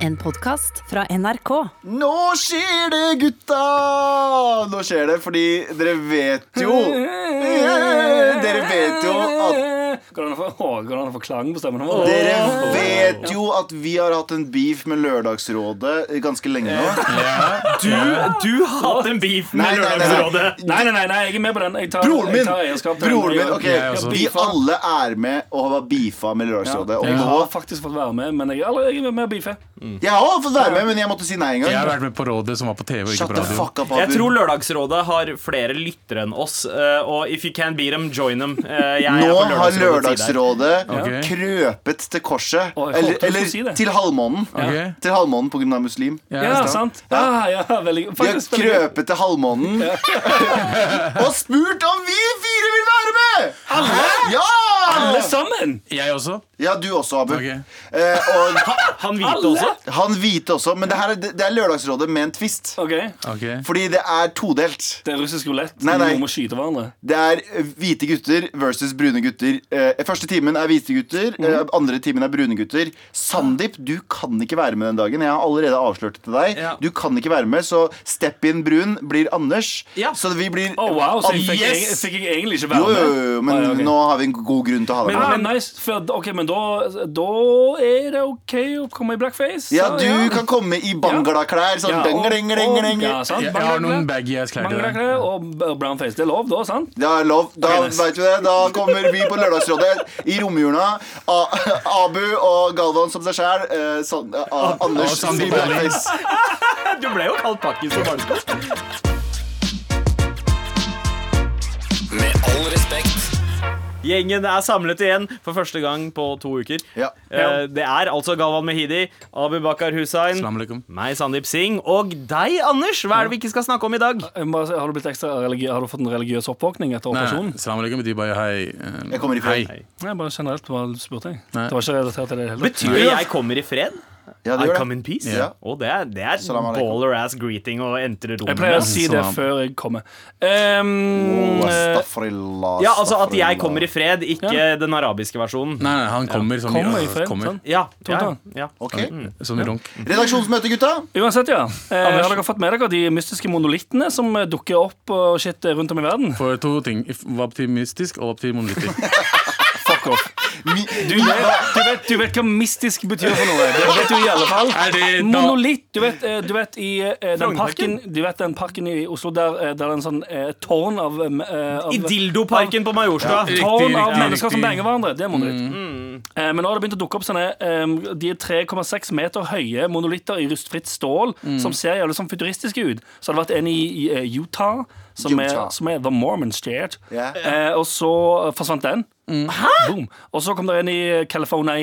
En podkast fra NRK. Nå skjer det, gutta! Nå skjer det, fordi dere vet jo Eh, Dere vet jo at Går det an å få, å, går det an å få klang på stemmen? vår? dere vet jo at vi har hatt en beef med Lørdagsrådet ganske lenge nå. Du, du har hatt en beef med Nei, nei, nei, nei. Lørdagsrådet. Nei, nei, nei, nei, jeg er med på den. Jeg tar, Broren jeg min! tar eierskap til den. Broren min, Jeg- ok jeg har Vi beefa. alle er med og har beefa med Ja, Lørdagsrådet. Og jeg har nå faktisk fått være med, men jeg er allerede med å beefe. Jeg har fått være med, men jeg måtte si nei en Jeg har gang. vært med på rådet som var på TV og ikke Shut på the radio. fuck up, Jeg Abu. tror Lørdagsrådet har flere lyttere enn oss. eh, Og if you can beat them, join them. Eh, Jeg er Nå på har Lørdagsrådets side her. Lørdagsrådet Ok. krøpet til korset. Å, jeg håpet Eller, du skulle eller si det. til halvmånen. Ok? Til halvmånen pga. muslim. Ja, Ja, jeg skal- sant? Ja, ja, De veldig har faktisk veldig gøy. krøpet til halvmånen og spurt om vi fire vil være med! Alle? Ja! Alle sammen! Jeg også. Ja, du også, Abu. Ok. Eh, og Han hvite også. han hvite også. Men det, her, er- det er Lørdagsrådet med en twist. Ok, Ok. Fordi det er todelt. Det er russisk roulette. Nei, nei. Vi må skyte hverandre. Det er eh, hvite gutter versus brune gutter. Eh, første timen er hvite gutter, eh, andre timen er brune gutter. Sandeep, du kan ikke være med den dagen. Jeg har allerede avslørt det til deg. Ja. Du kan ikke være med, så step in brun blir Anders. Ja. Så vi blir Å, Oh, wow, så jeg An- fikk, Ah, Yes! jeg, fikk jeg egentlig ikke Jo, jo, være med. jo, jo, men Ah, ja, ok. nå har vi en god grunn til å ha deg Men, med. men nice, for, ok, men da, da er det ok å komme i blackface? Ah, Ja, så- du kan komme i banglaklær. Sånn Ja, deng, og- deng, deng, og- deng. Ja, sant? Jeg, jeg har Banglaklær. noen baggy ass-klær til deg. Banglaklær og b- brownface. Det er lov, da, sant? Det er lov. Da Ok, nice. vet vi det. Da kommer vi på Lørdagsrådet i romjula. A- Abu og Galvan som seg sjæl. Eh, San- eh, A- Anders og Sandeep i blackface. Du ble jo kalt pakkis på barneskolen. Med all respekt. Gjengen er samlet igjen for første gang på to uker. Ja. Eh, Det er altså Galvan Mehidi, Abu Bakar Hussein, Salam alaikum. meg, Sandeep Singh, og deg, Anders. Hva er det vi ikke skal snakke om i dag? Jeg må bare si, Har du, blitt ekstra religi har du fått en religiøs oppvåkning etter Nei, operasjonen? salam alaikum betyr bare hei. eh, Jeg kommer ifra. Hei. Nei, bare generelt bare spurte jeg. Nei. Det var ikke relatert til det i det hele tatt. Betyr det jeg kommer i fred? Ja, det I gjør come det. in peace? Ja. Og det er, det er Salam alaikum. baller ass greeting å entre rommet Jeg pleier å med. si det Salam. før jeg kommer. Ehm, Åh, eh, Astagfirullah, Ja, altså at jeg astagfirullah. kommer i fred, ikke den arabiske versjonen. Nei, nei, han kommer som kommer i fred, kommer. sant? Ja, ja, Totalt. ja. Ok. Som i ronk. Redaksjonsmøte, gutta. Uansett, ja. Eh, har dere fått med dere de mystiske monolittene som eh, dukker opp og shit eh, rundt om i verden? For to ting. If- Hva betyr mystisk, og hva betyr monolittisk? Fuck off. Du vet, du, vet, du vet hva mystisk betyr for noe. Det vet du i alle fall. Er Eh, det da- Monolitt. Du vet, eh, du vet i eh, den parken Du vet den parken i Oslo der eh, det er en sånn eh, tårn av, eh, av I dildoparken på Majorstua. Ja. Tårn av riktig, mennesker som riktig. banger hverandre. Det er Mm. monolitt. Eh, men nå har det begynt å dukke opp sånne eh, De er 3,6 meter høye monolitter i rustfritt stål Mm. som ser jævlig sånn futuristiske ut. Så har det vært en i, i eh, Utah, som, Utah. Er, som er The Mormon Stared. Ja. Mm. Eh, og så forsvant den. Hæ? Boom. Og så kom det en i California.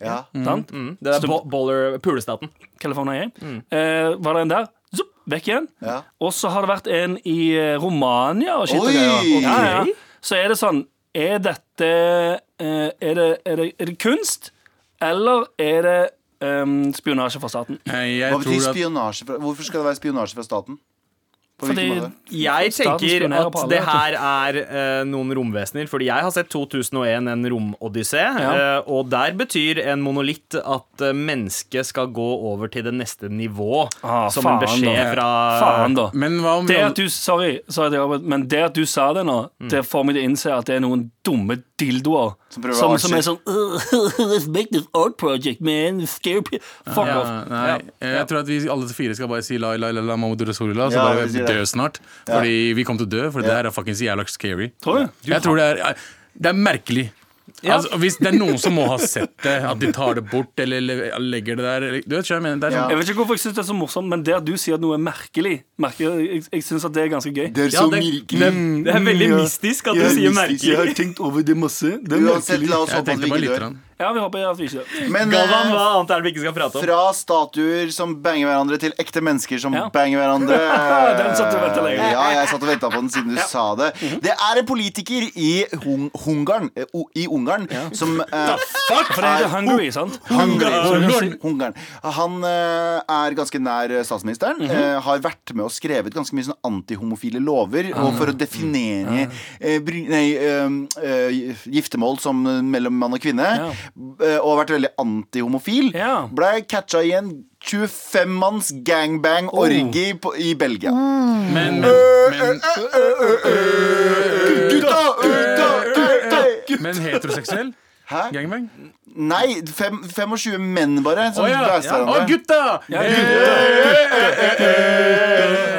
Ja. Sant? Mm. Det er bo boller pulestaten. California. Mm. Eh, var det en der? Zup, vekk igjen. Ja. Og så har det vært en i eh, Romania og shit. og Oi! greier. Ja, Ok. ja. Så er det sånn Er dette eh, er, det, er, det, er det kunst, eller er det em, spionasje fra staten? Nei, Jeg Hva betyr tror at spionasje fra, Hvorfor skal det være spionasje fra staten? På hvilken Fordi måte? Jeg Staten tenker spionerer at på alle, det vet her er eh, noen romvesener, fordi jeg har sett 2001 en romodyssé, Ja. eh, og der betyr en monolitt at eh, mennesket skal gå over til det neste nivå, Ah, som faen en beskjed da. fra Faen, da. Men hva om Det vi at du, sorry, sorry, til Albert, men det at du sa det nå, det får meg til å innse at det er noen dumme dildoer Mm. Som prøver å som, ha som er sånn "Ugh, Make this art project, man. Scare pe-" Fuck ja, off. nei, Jeg tror at vi alle fire skal bare si la la la la Mahmoud Rasulullah, så Ja, bare vi sier dø det. snart. Fordi vi kommer til å dø, for det her er fuckings jævla scary. Tror du? Jeg tror det er Det er merkelig. Altså, hvis det er noen som må ha sett det, at de tar det bort eller le- legger det der eller- Du vet hva jeg mener? Det er Ja. sånn Jeg vet ikke hvorfor jeg synes det er så morsomt, men det at du sier at noe er merkelig, merkelig jeg, jeg synes at det er ganske gøy. Det er Ja, det, det, det er veldig mystisk at du sier merkelig. tenkt over det masse. Det Uansett, la oss Jeg håpe at vi tenkte bare ikke litt. dør. grann. Ja, vi håper at vi ikke gjør Men Galvan, eh, hva annet er det vi ikke skal prate om? fra statuer som banger hverandre, til ekte mennesker som Ja. banger hverandre. Den satt du og ventet lenge. Mhm. Ja, jeg satt og venta på den siden du sa det. Det er en politiker i Hung Hungarn, eh, o- i Ungarn som eh, For det heter oh. Hungary, sant? Hungary. Ungarn. Han eh, er ganske nær statsministeren. Mhm. eh, har vært med og skrevet ganske mye sånn antihomofile lover. Og Ah. for å ehm, definere eh, bry, nei, eh, eh, giftermål som mellom mann og kvinne. eh, og vært veldig antihomofil, Ja. ble catcha i en 25-manns Oh. gangbang-orgi på- i Belgia. Mm. Men, men, men, Gutta! Eh, Gutta! Gutta! men heteroseksuell? Hæ? Gangbang? Nei, fem- 25 menn bare som Å ja! blæste ja. Å, hverandre. gutta!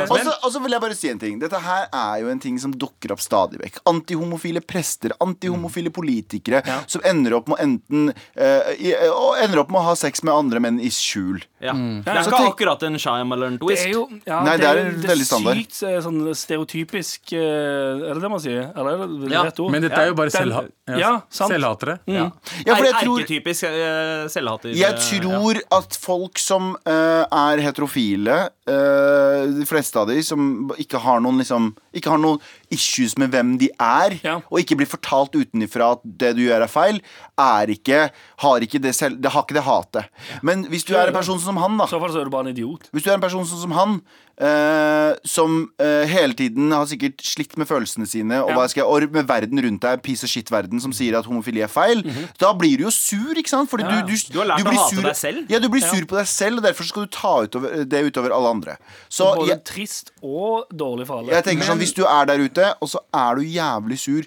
Og så- og så vil jeg bare si en ting. Dette her er jo en ting som dukker opp stadig vekk. Antihomofile prester, antihomofile politikere som ender opp med å enten eh, i, og ender opp med å ha sex med andre menn i skjul. Ja. Mm. Det er Ja, så ikke tenk- akkurat en Shyamalan Det twist. er jo ja, Nei, det er jo- veldig standard. Sykt eh, sånn stereotypisk eh, Er det det man sier? Eller er det Ja, rett ord? Men dette er jo bare Den- selvha ja, Ja, sant. Mm. selvhatere. Ja, for jeg Er- tror, Erketypisk eh, selvhater. jeg tror at folk som eh, er heterofile, eh, de fleste av de som ikke har noen liksom Ikke har noen issues med hvem de er, Ja. og ikke blir fortalt utenfra at det du gjør er feil, er ikke Har ikke det selv Det har ikke det hatet. Men hvis du er en person som han, da I så fall så er du bare en idiot. Hvis du er en person sånn som han, eh, som eh, hele tiden har sikkert slitt med følelsene sine, og, Ja. hva skal jeg, og med verden rundt deg, piece of shit-verden som sier at homofili er feil, da blir du jo sur, ikke sant? Fordi du, du, Du har lært å blir hate deg selv. Ja, du blir sur på deg selv, og derfor skal du ta utover, eh, det utover alle andre. Så Både jeg, trist og dårlig for alle. jeg tenker sånn, hvis du er der ute, og så er du jævlig sur,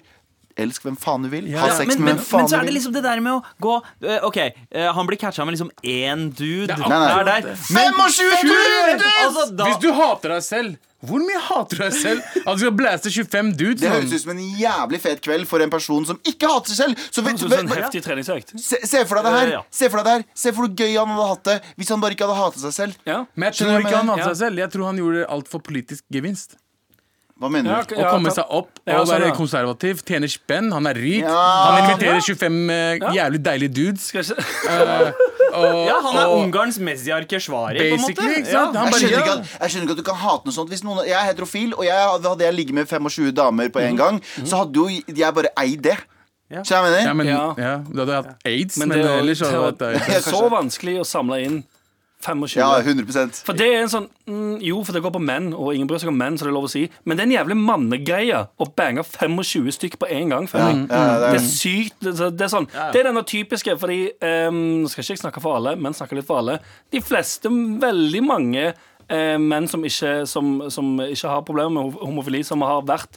elsk hvem faen du vil, ha Ja, sex men, med men, hvem faen men så du er det vil. liksom det der med å gå eh, OK, eh, han blir catcha med liksom én dude. Det er akkurat er det. der. 25 Dude! Altså, da, Hvis du hater deg selv, hvor mye hater du deg selv? At du skal blæste 25 dudes? Det mann? sånn- høres ut som en jævlig fet kveld for en person som ikke hater seg selv. Så vet, Så vet- sånn heftig treningsøkt. Se, se for deg det her. Ja. Se for deg det her Se for hvor gøy han hadde hatt det hvis han bare ikke hadde hatet seg selv. Ja. Men jeg Skjønner tror du ikke han hva hater seg selv. Jeg tror han gjorde alt for politisk gevinst. Hva mener du? Ja, ok, Å ja, komme ta- seg opp og Ja, sånn, være ja. konservativ, tjene spenn, han er rik. Ja. Han inviterer 25 eh, jævlig deilige dudes. Skal jeg ikke- Og, ja, han er og- Ungarns Mezjar Keshvari, på en måte. Basically, ikke sant? Ja. Han Jeg bare, skjønner, ikke at, jeg skjønner ikke at du kan hate noe sånt. Hvis noen, jeg er heterofil, og jeg, hadde- hadde jeg ligget med 25 damer på en gang, så hadde jo jeg bare eid det. Ja. Så jeg mener ja, men, ja. Ja. Du hadde hatt aids, men, Men det er jo- ellers hadde du hatt Det aids. er så vanskelig å samle inn 25. Ja, 100 For det er en sånn mm, Jo, for det går på menn, og ingen bryr seg om menn, så det er lov å si. Men det er en jævlig mannegreie å bange 25 stykk på en gang. føler jeg. ja, det er- det er sykt. Det er, det er sånn Det er denne typiske, fordi ehm, Nå skal ikke jeg snakke for alle, men snakke litt for alle. De fleste, veldig mange eh, menn som ikke, som, som ikke har problemer med hom- homofili, som har vært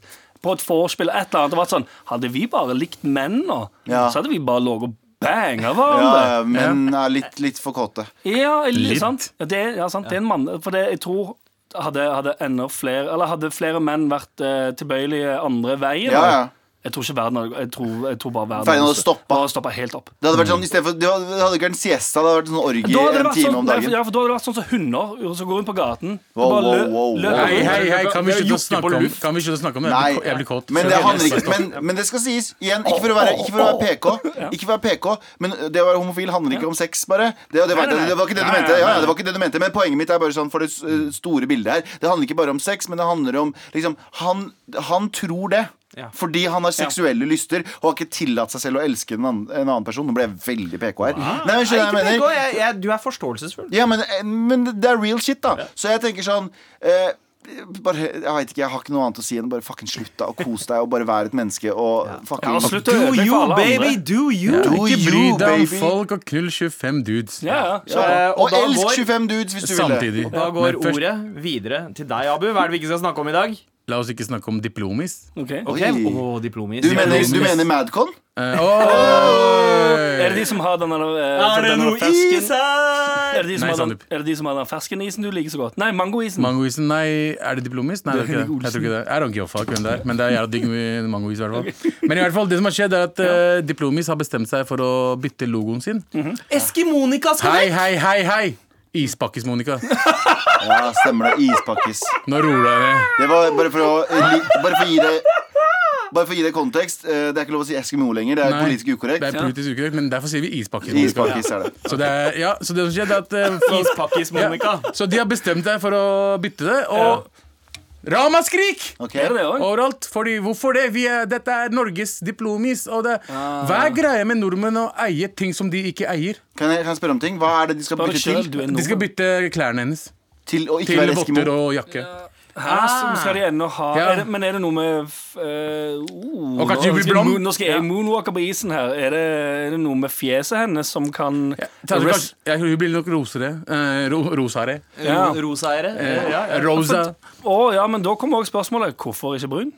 på et vorspiel eller et eller annet og vært sånn Hadde vi bare likt menn nå, Ja. så hadde vi bare ligget og banga ja, hverandre. ja, men er litt, litt for kåte. Ja, litt. Sant? Ja, Det, er- ja, sant. Det er en mann For det, jeg tror hadde, hadde enda flere Eller hadde flere menn vært eh, tilbøyelige andre veien Ja, ja. Jeg tror ikke verden hadde Jeg tror, jeg tror bare verden Verden hadde stoppet. Bare stoppet helt opp Det hadde vært sånn, i stedet for, det hadde det hadde ikke vært en siesta, det hadde vært en orgie da hadde, det en vært time sånn, om nei, for- dagen. ja, for da hadde det vært sånn som hunder som går rundt på gaten Wow, Bare wow, lø- wow, lø- wow. Hei, hei, hei, kan vi slutte å Det er jukke på snakke om, luft. kan vi slutte å snakke om det? Jeg Nei, blir- Jeg blir kåt. men det Sorry. handler ikke men, men det skal sies igjen. Ikke for å være, ikke for å være PK, Ikke for å være PK men det å være homofil handler ikke om sex, bare. Det, det, var, Nei, nei, nei. det var ikke det du Nei, mente. nei, Ja, nei. det var ikke det du mente Men poenget mitt er bare sånn for det s- store bildet her. Det handler ikke bare om sex, men det handler om liksom, han, han tror det. Ja. Fordi han har seksuelle lyster og har ikke tillatt seg selv å elske en annen, en annen person. Nå ble jeg veldig PK her. Nei, men Nei, skjønner du hva ikke jeg PK, mener? jeg, jeg, du er forståelsesfull. Ja, men, eh, men det er real shit, da. Så jeg tenker sånn eh, bare, Jeg vet ikke, jeg har ikke noe annet å si enn bare fucking slutt, da. Og kos deg, og bare vær et menneske, og fucking Ja, og slutt å ødelegge for alle andre do you. Do Ikke Oh, you, bry deg om baby. folk og knull 25 dudes ja, ja. Så, Eh, og og da elsk går- 25 dudes hvis du vil det. samtidig. Da går Men først, ordet videre til deg, Abu. Hva er det vi ikke skal snakke om i dag? la oss ikke snakke om diplomis. Ok. Ok, Oi. Åh, diplomis. Du mener, du mener Madcon? Eh, oi! Er det de som har den der, eh, Er det den der noe fersken- is her? Er det de som Nei, har den- Sandeep. er det de som har den fersken isen du liker så godt? Nei, mangoisen Mangoisen, nei, er det diplomis? Nei, det er ikke det. Jeg tror ikke det. I don't give a fuck hvem det er, men det er jævla digg med mangois i hvert fall. Men i hvert fall, det som har skjedd er at eh, diplomis har bestemt seg for å bytte logoen sin. Mhm. Eskimonika skal Hei, vekk! hei, hei, hei! Ispakkis, Monica. Ja, stemmer det. Ispakkis. Nå roer jeg ned. Det var bare for å eh, Bare for å gi deg Bare for å gi deg kontekst. eh, Det er ikke lov å si Eskimo lenger. Det er Nei, politisk Det er ukorrekt. politisk ukorrekt, men derfor sier vi ispakkis, Monica. Ispakkis er det. Så det, er, ja, så det som skjedde, er at eh, Ispakkis Monica. Så de har bestemt seg for å bytte det, og Ramaskrik! Ok? Er det det også? Overalt. Fordi, hvorfor det? Vi er, dette er Norges diplomis. Og det, Hva er greia med nordmenn å eie ting som de ikke eier? Kan jeg, kan jeg spørre om ting? Hva er det de skal Bare bytte kjøl, til? du er De skal nordmann. bytte klærne hennes Til å ikke til være Eskimo? votter og jakke. Hæ, så skal de ennå ha Ja. er det, Men er det noe med f- eh, oh, Og nå kanskje du blir skal- blond? Nå skal jeg moonwalke på isen her. Er det, er det noe med fjeset hennes som kan Ta- Res- kanskje- Jeg tror hun blir nok rosere. eh, ro, rosare. Ja. Ro- Rosaeiere. Eh, ja, ja. Rosa. Å ja, men da kommer også spørsmålet hvorfor ikke brun?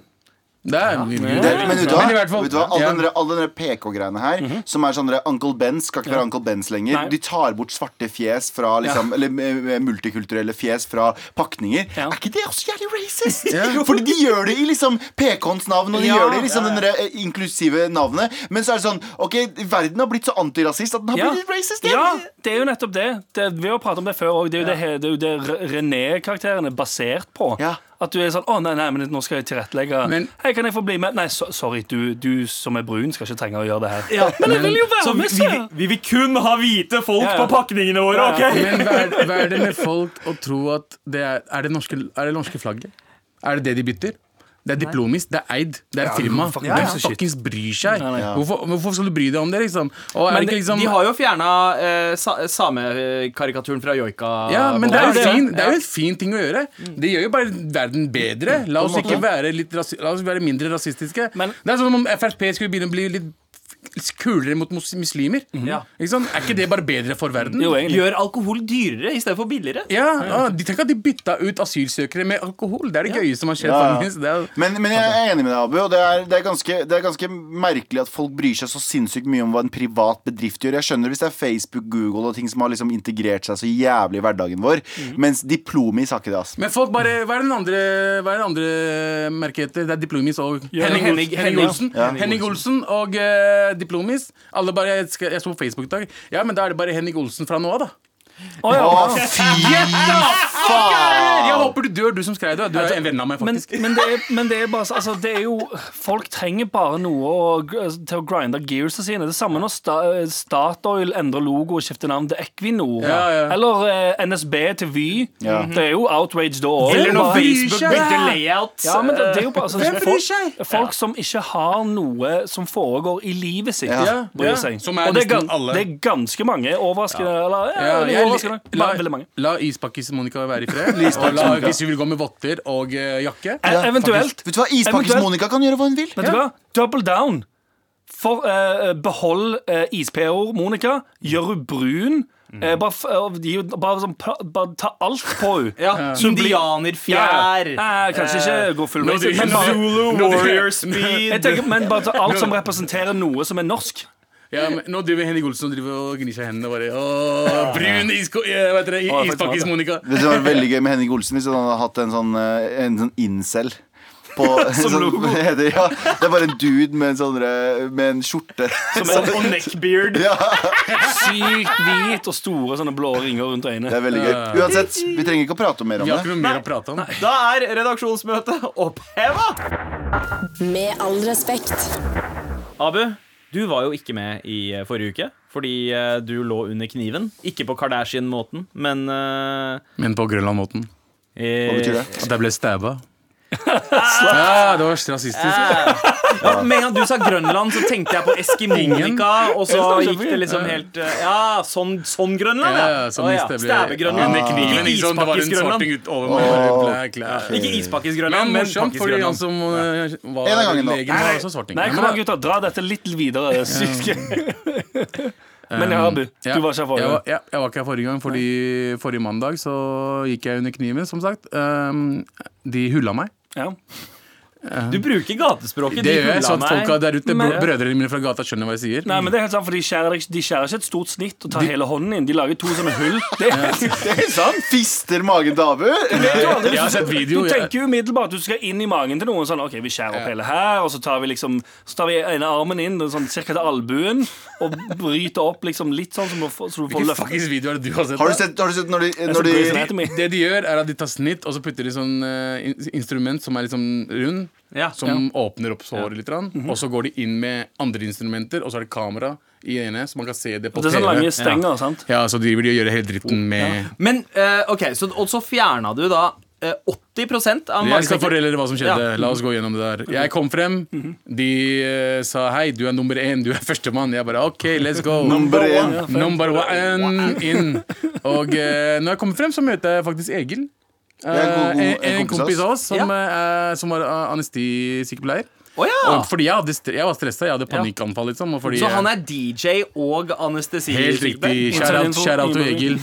Det er mye Det, men vet du hva? Men i hvert fall- vet du hva? All Ja. den der- all den der PK-greiene her, som er sånn der Uncle Ben skal ikke være Uncle Bens lenger. Mhm. Nei. De tar bort svarte fjes fra liksom, Eller eh, multikulturelle fjes fra pakninger. Ja. Er ikke det også jævlig racist? Fordi de gjør det i liksom PK-ens navn, og de Ja. gjør det i liksom den der, eh, inklusive navnet. Men så er det sånn OK, verden har blitt så antirasist at den har Ja. blitt litt racist. ja, det er jo nettopp det. det vi har pratet om det før òg. Det er jo det, he- det, er jo det Re- René-karakteren er basert på. Ja. At du er sånn 'Å, nei, nei, men nå skal jeg tilrettelegge'. Men- Hei, kan jeg få bli med? Nei, so sorry, du, du som er brun, skal ikke trenge å gjøre det her. Ja. Men jeg vil jo være Så vi, med, vi, se! vi vil kun ha hvite folk Ja, ja. på pakningene våre, Ja, ja. OK? Men hva er, hva er det med folk å tro at det er, er, det norske, er det norske flagget? Er det det de bytter? Det er diplomis, det er eid, det er firma. fucking Hvem gives a shit. fuckings bryr seg? Nei, nei. Ja. Hvorfor, hvorfor skal du bry deg om det, liksom? Og er Men det ikke liksom de har jo fjerna eh, sa, samekarikaturen fra joika. ja, men det er, Det er jo jo fin, det. det er jo en fin ting å gjøre. Det gjør jo bare verden bedre. La oss ikke være, litt rasi La oss være mindre rasistiske. Men- det er sånn om Frp skulle begynne å bli litt f- kulere mot mus- muslimer. Ja. Ikke sant? Er ikke det bare bedre for verden? Jo, egentlig. Gjør alkohol dyrere istedenfor billigere. Ja, ja, de Tenk at de bytta ut asylsøkere med alkohol. Det er det gøyeste som har skjedd. Ja, ja. faktisk. Det er, Men, men jeg er enig med deg, Abu. Og det er, det, er ganske, det er ganske merkelig at folk bryr seg så sinnssykt mye om hva en privat bedrift gjør. Jeg skjønner hvis det er Facebook, Google og ting som har liksom integrert seg så jævlig i hverdagen vår. Mhm. Mens Diplomi sa ikke det, altså. men folk bare Hva er den andre, hva er den andre merket heter? Det er Diplomis og Ja, Henning, Henning- Henning, Henning Henning Olsen. Henning Olsen og eh, Diplomis. Alle bare, jeg, skal, jeg så på Facebook i dag. Ja, men da er det bare Henning Olsen fra nå av, da. Å, ja. Å, fy faen! Jeg håper du dør, du som skrev det. Du er en venn av meg, Men, faktisk. men, det er, men det er bare så- altså, det er jo Folk trenger bare noe å, altså, til å grinde gearsa sine. Det samme når sta, Statoil endrer logo og skifter navn til Equinor. Ja, ja. Eller eh, NSB til Vy. Ja. Det er jo outrage da òg. Eller når Hvem bryr Facebook seg? bytter layout. Ja, men det, det er jo bare altså, Hvem bryr seg? Folk, folk som ikke har noe som foregår i livet sitt, Ja. bryr Ja. seg. Som er Og det er, nesten alle. det er ganske mange. Overraskende. Eller, ja, Ja, litt jeg- overraskende. la, Veldig mange. la ispakkis-Monica være i fred. Og la, hvis hun vil gå med votter og eh, jakke. E- Eventuelt. Vet du hva Ispakkes Eventuelt- Monica kan gjøre hva hun vil? Vet du hva? Double down. For, eh, behold uh, is-PO, Monica. Gjør hun brun. Mm. Eh, bare, f- eh, gi henne- bare, sånn, pa- bare ta alt på henne. Ja, Så blir- Indianerfjær. Ja, ja. Eh, kanskje ikke gå full race, men bare, eh, Zulu warrior jeg speed. tenker, men bare ta alt som representerer noe som er norsk. Ja, men nå driver Henning Olsen og driver og gnir seg i hendene og bare Åh, brun isko... eh, Hva heter det? Å, jeg Ispakkis faktisk Monica. Det hadde vært veldig gøy med Henning Olsen hvis han hadde hatt en sånn, eh, en sånn incel. På, Som logo. Sånn, heter det, ja. Det er bare en dude med en, sånn, eh, med en skjorte. Som en og neckbeard. Sykt hvit og store sånne blå ringer rundt Det øynene. er veldig gøy. Uansett, vi trenger ikke å prate mer om Vi har det. ikke noe mer å prate om. Da er redaksjonsmøtet oppheva. Med all respekt. Abu, du var jo ikke med i eh, forrige uke. Fordi eh, du lå under kniven. Ikke på Kardashian-måten, men eh, Men på Grønland-måten. eh, Hva betyr det? At jeg ble stabba. Ja, det var rasistisk. Ja, med en gang du sa Grønland, så tenkte jeg på Eskimonika, og så Jeg snakker gikk det liksom Ja. helt eh, Ja, sånn, sånn Grønland, Ja, ja, Å sånn hvis det ble- Stabbe-Grønland. Under kniven, Ikke ikke sant? Det var en Ispakkis-Grønland. svarting ut over meg. Bare klær. Ikke Men Ispakkis-Grønland, men morsomt, fordi han Pakkis-Grønland. som eh, var En av gangen legen, nå. var også svarting. Nei, Ja, kom men- an, gutter. Dra dette litt videre. det er Sykt gøy. Men ja, Abu, Ja. du var ikke her forrige Mm. Jeg gang. var, ja, jeg var ikke her forrige gang, fordi forrige mandag så gikk jeg under kniven, som sagt. Um, de hulla meg. Ja. Du bruker Det gatespråket. de gjør jeg, hulla så at meg. folka der ute, Men- bro- brødrene mine fra gata, skjønner hva jeg sier. Nei, men det er helt sant, for De skjærer, de skjærer ikke et stort snitt og tar hele hånden inn. De lager to sånne hull. Det er, det er sant. Fister magen til Abu? Du, har aldri Jeg har lyst til- sett video, du jeg- tenker jo umiddelbart at du skal inn i magen til noen. Sånn, ok, Vi skjærer opp hele her, og så tar vi liksom Så tar vi ene armen inn sånn, cirka til albuen og bryter opp liksom litt sånn som du får, så du får Hvilken løft. fuckings video er det du har sett? Har du da? sett, har du sett når de, Det er når så de Grey's Anatomy. Det de gjør, er at de tar snitt, og så putter de sånn eh, in- instrument som er litt sånn rund, Ja. som åpner opp såret litt, grann, Mhm. og så går de inn med andre instrumenter, og så er det kamera i ene, så man kan se det på Det er sånne lange TV. stenger, sant? Ja, så driver de og gjør hele dritten med Men eh, ok, så, og så fjerna du da eh, 80 av Jeg skal magesekken. fortelle dere hva som skjedde. La oss gå gjennom det der. Jeg kom frem. De eh, sa hei, du er nummer én, du er førstemann. Jeg bare OK, let's go. Number én. Number one in. Og eh, når jeg kommer frem, så møter jeg faktisk Egil. er en god- Eh, en, en en kompis av oss som, Ja. eh, som var eh, anestesisykepleier. Å ja! Og Fordi jeg, hadde, stre- jeg var stressa, jeg hadde panikkanfall. Liksom, og fordi, Så han er DJ og anestesi? Helt riktig. Shout-out Innsendinfo, shout-out til innblanding. Egil.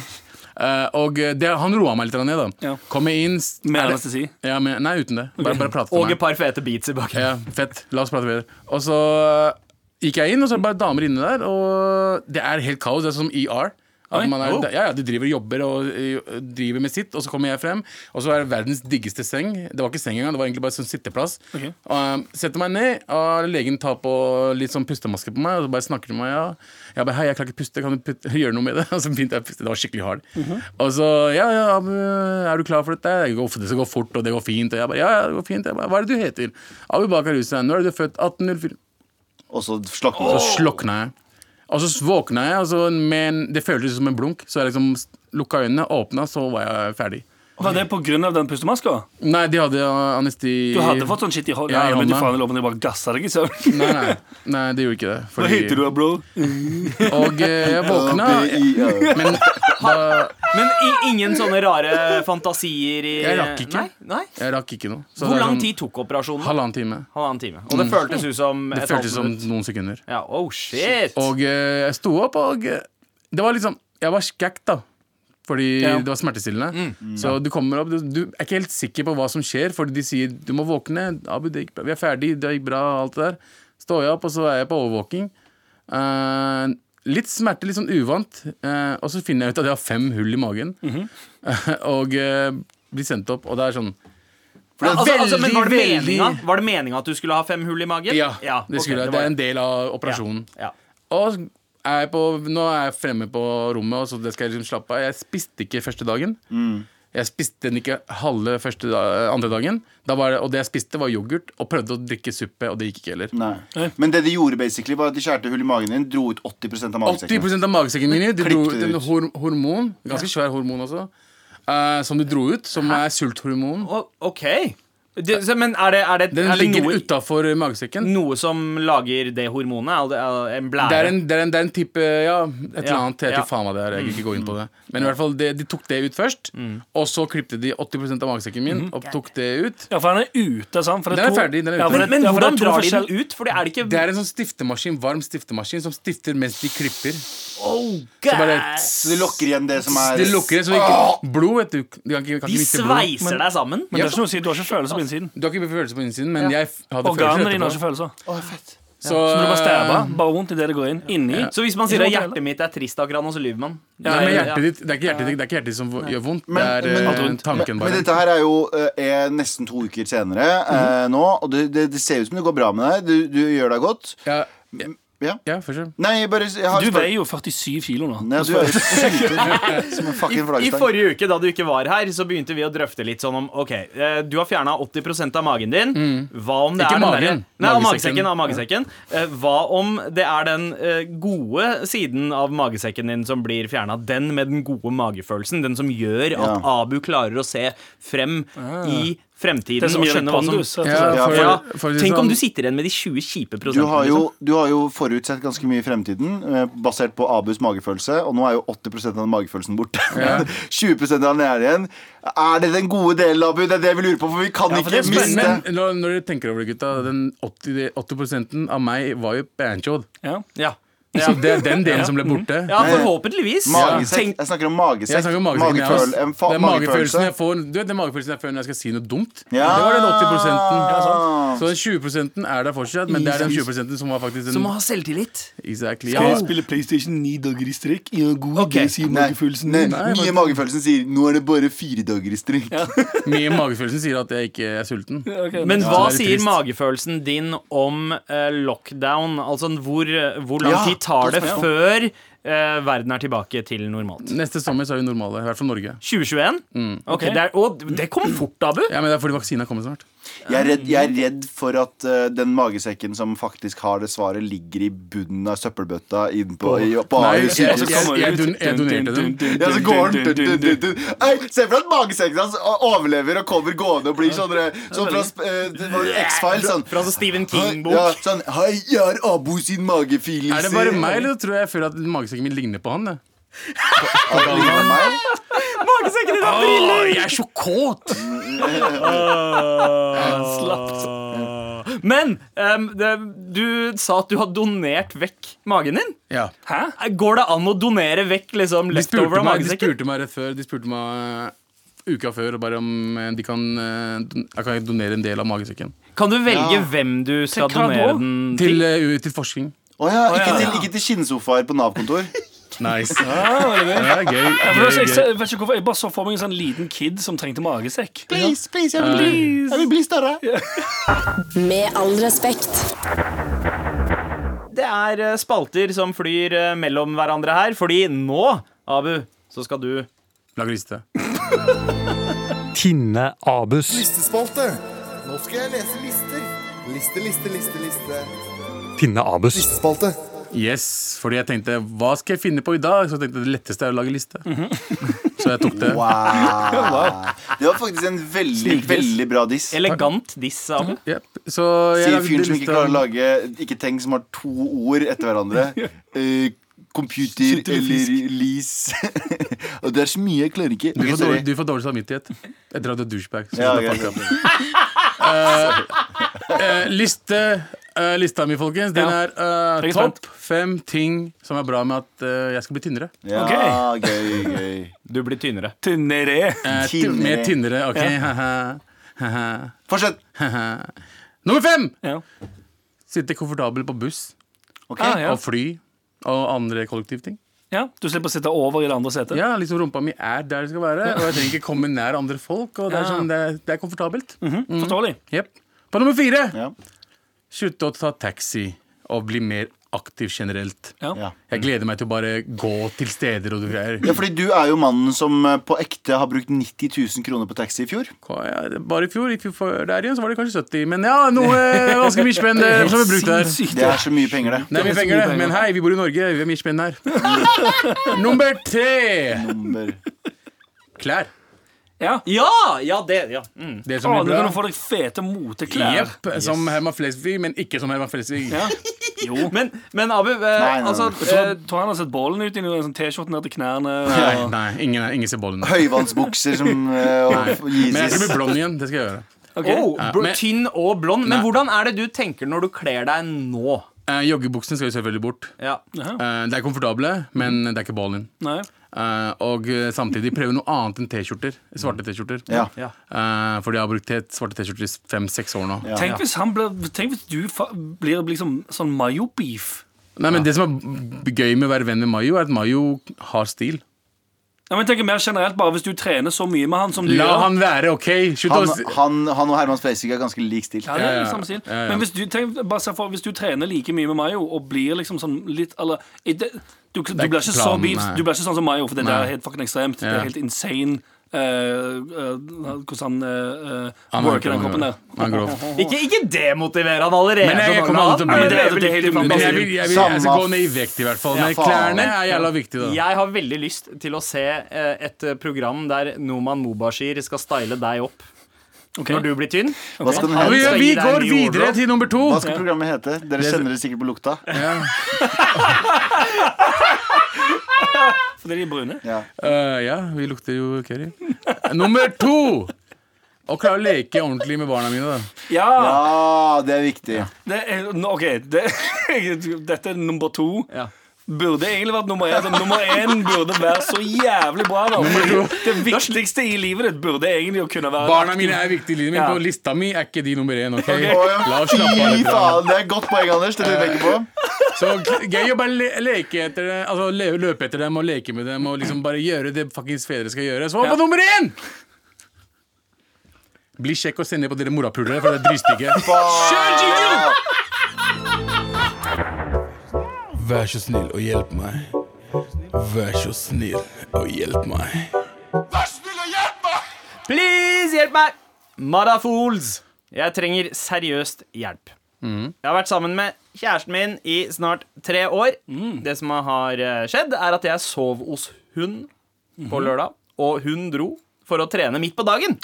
Eh, og det, han roa meg litt ned, da. Ja. Kom inn s- Med er det- anestesi? Ja, med, nei, uten det. Bare, bare prate til Og meg. et par fete beats i bakgrunnen. Ja, fett. La oss prate videre. Og så eh, gikk jeg inn, og så er det bare damer inne der. Og det er helt kaos. Det er som ER. At Oi. man er, Oh. ja, ja, De driver og jobber og eh, driver med sitt, og så kommer jeg frem. Og så er det verdens diggeste seng. Det var ikke seng engang, det var egentlig bare sånn sitteplass. Ok. Og, um, setter meg ned, og legen tar på litt sånn pustemaske på meg, og så bare snakker til meg. Ja. Jeg bare 'Hei, jeg klarer ikke puste, kan du putte, gjøre noe med det?' Og så begynte jeg å puste. Det var skikkelig hard. Mhm. Og så 'Ja, ja, Abu, er du klar for dette?' Jeg går, det skal gå fort, og det går fint. Og jeg bare 'Ja, ja, det går fint'. Jeg bare, 'Hva er det du heter?' Abu Bakar Hussein. Når er det du er født? 1804. Og så slakter Så man. slokna jeg. Og så våkna jeg, og så, men det føltes som en blunk. Så jeg liksom lukka øynene, åpna, så var jeg ferdig. Var det pga. den pustemaska? Nei, de hadde uh, anestesi Du hadde fått sånn shit i hånda? Ja, i Ja, men du hånda. faen i loven, de bare gassa deg i søvn. Nei, nei, nei, det gjorde ikke det. Hva heter du, da, bro? Og eh, jeg våkna B-I-R. Men da, Men i, ingen sånne rare fantasier i Jeg rakk ikke. Nei, nei. jeg rakk ikke noe. Så det Hvor er lang sånn tid tok operasjonen? Halvannen time. Halvannen time. Og det føltes ut som Det et halvt føltes som minutt. noen sekunder. Ja, oh shit. Og eh, jeg sto opp, og eh, det var liksom Jeg var skækk, da. Fordi Ja. det var smertestillende. Så du kommer opp, du, du er ikke helt sikker på hva som skjer, fordi de sier du må våkne. Abu, det gikk bra. Vi er ferdig, det gikk bra, alt det der. Står jeg opp, og så er jeg på overvåking. Eh, litt smerte, litt sånn uvant. eh, og så finner jeg ut at jeg har fem hull i magen. og eh, blir sendt opp, og det er sånn Ja, altså, altså, men var det veldig, veldig- meninga? Var det meninga at du skulle ha fem hull i magen? Ja, ok, det, skulle, jeg. var det er en del av operasjonen. Ja. Og er jeg på, nå er jeg fremme på rommet, og så det skal jeg liksom slappe av. Jeg spiste ikke første dagen. Jeg spiste den ikke halve første da, andre dagen. Da var det, og det jeg spiste, var yoghurt, og prøvde å drikke suppe, og det gikk ikke heller. Nei. Men det de gjorde, basically var at de skjærte hull i magen din, dro ut 80 av magesekken. 80 av magesekken min de dro Klippte ut det en ut. hor hormon, ganske svær hormon også, eh, som de dro ut, som er sulthormon. Å, ok. Det, så, men er det, er det, Den er det ligger noe, utafor magesekken. noe som lager det hormonet? Er det, er det en blære? Det er, en, det, er en, det er en type Ja, et eller Ja, annet. Jeg vet ja. Mm. ikke faen hva det er. Jeg vil ikke gå inn på det. Men i hvert fall, det, de tok det ut først, og så klippte de 80 av magesekken min Mm. og tok det ut. Ja, for han er ute, sant? For det Den er to- ferdig, den er Ja, ute. for det- men men ja, for det er hvordan to drar de forskjell- den ut? For det er det ikke Det er en sånn stiftemaskin, varm stiftemaskin som stifter mens de klipper. Oh, Så bare god. Så de lukker igjen det som er Det lukker det, så ikke blod vet du. De kan ikke, kan De ikke miste blod. sveiser deg sammen. Men det er ikke noe å si, du har ikke følelser på altså, innsiden. Du har ikke følelser på innsiden, men jeg f- hadde Organene dine har følelser ikke følelser. Å, fett. Så, eh, Så du bare eh, stabber, bare vondt idet det går inn. Inni. Så hvis man sier at Ikke noe å hjertet mitt er trist akkurat nå, så lyver man. Nei, men Ja, ja. hjertet ditt, det er ikke hjertet ditt, det er ikke hjertet ditt som gjør vondt, det Men- er eh, men- tanken Men bare. dette her er jo eh, er nesten to uker senere eh, nå, og det, det, det ser ut som det går bra med deg. Du, du gjør deg godt. Ja, Ja. ja, først og fremst. Nei, jeg bare jeg har Du spør- veier jo 47 kilo nå. Nei, altså, du er jo sulten som en fucking I flaggstang. forrige uke da du ikke var her, så begynte vi å drøfte litt sånn om Ok, eh, du har fjerna 80 av magen din. Hva om det Ikke er den magen. derre- Nei, av Magesekken. magesekken. Av magesekken. Eh, Hva om det er den eh, gode siden av magesekken din som blir fjerna? Den med den gode magefølelsen. Den som gjør at Ja. Abu klarer å se frem i fremtiden Det som og gjør deg skjønne hva som pondus. rett og Ja, slett. Ja, for, ja, for, å si det Tenk om sånn- du sitter igjen med de 20 kjipe Du prosentene. har, jo, liksom. du har jo forutsett ganske mye i fremtiden, eh, basert på Abus magefølelse, og nå er jo 80 av den magefølelsen borte. 20 av den er igjen. Er det den gode delen, Abu? Det er det vi lurer på, for vi kan for ikke det er miste Men når, når dere tenker over det, gutta Den 80, 80 av meg var jo banchoed. Ja. Ja. Så det er den delen som ble borte. ja, forhåpentligvis. magesekk. Tenk- Jeg snakker om magesekk. Jeg snakker om magesekken. jeg Mageføl- også. en fa- det er magefølelsen magefølelse. jeg får Du vet den magefølelsen jeg får når jeg skal si noe dumt? Ja. Det var den 80 Ja, sant. Så den 20 er der fortsatt, men det er den 20 som var faktisk den Som å ha selvtillit. Exactly. Ja. spille PlayStation ni dager i strekk? Ja, god Ok. idé, sier Nei, nei, nye magefølelsen sier 'nå er det bare fire dager i strekk'. Mye magefølelsen sier at jeg ikke er sulten. Men Ja, hva det er litt sier trist. magefølelsen din om eh, lockdown? Altså hvor, hvor lang Ja, tid tar det godt spørsmål. før eh, verden er tilbake til normalt? Neste sommer så er vi normale, i hvert fall Norge. 2021? Mm. Ok, det, er, å, det kom fort, Abu. Ja, men Det er fordi vaksina kommer snart. Jeg er redd, jeg er redd for at eh, den magesekken som faktisk har det svaret, ligger i bunnen av søppelbøtta inn på, i, på Nei, Ahus sykehus. jeg- jeg- jeg don- jeg donerte den. Ja, så går den dun, dun, dun, dun. Nei, Se for deg at magesekken hans overlever og kommer gående og blir sånn eh, Sånn fra sp- eh, det var X-Files. Sånn Fra sånn Stephen Ja, King-bok. sånn Hei, jeg er Abo sin magefølelse. Er det bare meg, eller tror jeg jeg føler at magesekken min ligner på han? Det? Er det bare meg? Magesekken din har briller! jeg er så kåt! Åh. Ah. Men em, det, du sa at du har donert vekk magen din. Eh, Ja. Hæ? Går det an å donere vekk liksom De spurte, leftover av meg, de magesekken? spurte meg rett før De spurte meg eh, uka før bare om eh, de kan, eh, don- jeg kan donere en del av magesekken. Kan du velge hvem du skal hva donere nå? den Til, eh, u- til forskning. Å ja, ikke ja, til, ikke til skinnsofaer på Nav-kontor. Nice. Ja, gøy, Jeg, vet gøy, ikke- gøy. jeg vet ikke hvorfor, jeg bare så for meg en sånn liten kid som trengte magesekk. Please, please, jeg vil bli, jeg vil bli større. Med all respekt. Det er eh, spalter som flyr eh, mellom hverandre her, fordi nå, Abu, så skal du Lag liste. Tinne Abus. Listespalte. Nå skal jeg lese lister. Liste, liste, liste, liste. Tinne Abus. Listespalte. Yes, fordi jeg tenkte hva skal jeg finne på i dag? Så jeg tenkte det letteste er å lage liste. Så jeg tok det. Wow. Det var faktisk en veldig, veldig bra diss. elegant diss, Abu. Yep. Så jeg Sier lagde fyren som ikke lista. klarer å lage Ikke ting som har to ord etter hverandre. Eh, computer eller lease. Og det er så mye jeg klarer ikke. Du Ok, får, sorry. dårlig, du får dårlig samvittighet etter at du er douchebag. Så Ja, shut the ok. fuck up. Eh, eh, liste, eh, lista mi, folkens, den Ja. er eh, Jeg er topp fem ting som er bra med at eh, jeg skal bli tynnere. Ja, Ok. gøy, gøy. Du blir tynnere. Tynnere. Eh, ty- Tynnere. Mer tynnere, OK? haha, haha, Fortsett. haha. Nummer fem! Ja. Sitte komfortabel på buss Ok. Ah, ja. og fly og andre kollektivting. ja. Du slipper å sitte over i det andre setet. Ja, liksom rumpa mi er der det skal være, og jeg trenger ikke komme nær andre folk. Og Det er, Ja. sånn, det er, det er komfortabelt. Forståelig. Jep. På nummer fire Ja. Slutte å ta taxi og bli mer aktiv generelt. Ja. Ja. Jeg gleder meg til å bare gå til steder og greier. ja, fordi du er jo mannen som eh, på ekte har brukt 90 000 kroner på taxi i fjor. Hva- ja, det- Bare i fjor, i fjor der igjen, så var det kanskje 70, men ja, noe eh, ganske mye spenn eh, som er brukt der. Sinnssykt. Det er så mye penger, det. Det er mye penger, det, men hei, vi bor i Norge, vi har mye spenn her. Nummer tre Nummer- klær. Ja. Ja! Ja, det ja. Mm. Det som Å, blir nå kan du få bra. deg fete moteklær. Jepp, som Herman Flesvig, men ikke som Herman Flesvig. Ja. Jo. Men, men Abu, eh, nei, nei. altså Jeg tror, eh, tror han har sett bollen ut i en sånn T-skjorte ned til knærne. Nei, Og... nei, ingen, ingen ser bollen. nå. Høyvannsbukser som eh, og Men jeg skal Yeezys. bli blond igjen. Det skal jeg gjøre. Ok. oh, Ja, bro, men- Tynn og blond. Men Nei. hvordan er det du tenker når du kler deg nå? Eh, joggebuksene skal jo selvfølgelig bort. Ja. Eh, det er komfortable, men det er ikke ballen. Nei. Eh, og eh, samtidig prøve noe annet enn T-skjorter. Svarte T-skjorter. Ja. Ja. Eh, fordi jeg har brukt te- svarte T-skjorter i fem-seks år nå. Ja. Tenk hvis, han ble, tenk hvis du fa blir liksom sånn mayo-beef. Nei, men Det som er b- gøy med å være venn med Mayo, er at Mayo har stil. Ja, men tenk mer generelt bare Hvis du trener så mye med han som du La gjør han være, OK? Slutt å Han, si- han, han og Herman Spreisvik er ganske lik stil. ja, det er Ja, jo ja, samme stil. ja, ja. Men hvis du, tenk, bare se for, hvis du trener like mye med Mayo og blir liksom sånn litt eller, i det, du, du er blir ikke ikke så planen, beef, nei. du blir ikke sånn som Mayo, for det der Nei. er helt fucking ekstremt. Det Ja. er helt insane eh, eh, hvordan han eh, eh, Han er worker den grov. kroppen der. Han er grov. Ikke, ikke demotivere han allerede. Men jeg sånn, kommer aldri til å bli- han er Men det er- veldig det er helt dyktig. Men fantastisk. jeg, vil, jeg, vil, jeg Samme skal gå ned i vekt, i hvert fall. Ja, Men faen. klærne er jævla viktig, da. Jeg har veldig lyst til å se eh, et program der Noman Mubashir skal style deg opp Ok. når du blir tynn. Hva skal, den Han Vi, hete? skal vi gi deg en går ny videre wardrobe. til nummer to. Hva skal programmet hete? Dere kjenner det sikkert på lukta. Fordi de er brune. Ja. Eh, ja, vi lukter jo curry. Nummer to! Å klare å leke ordentlig med barna mine. da Ja! Ja, det er viktig. Det er, nå, OK, det, dette er nummer to. Ja. Burde egentlig vært nummer én. men Nummer én burde være så jævlig bra. Da. Det viktigste i livet ditt burde egentlig å kunne være Barna mine er viktige i livet mitt, Ja. og lista mi er ikke de nummer én. ok? Å, ja. La oss Fy slappe av litt. da. faen, det er et godt poeng, Anders. Det tenker jeg på. Så g- gøy å bare le leke etter det, altså le løpe etter dem og leke med dem og liksom bare gjøre det fuckings fedre skal gjøre. Så hva på nummer én! Bli kjekk og send ned på dere morapulere, for det er dritstygge. Vær så snill og hjelp meg. Vær så snill og hjelp meg. Please, hjelp meg! Madafools! Jeg trenger seriøst hjelp. Jeg har vært sammen med kjæresten min i snart tre år. Det som har eh, skjedd, er at jeg sov hos hun på lørdag, og hun dro for å trene midt på dagen.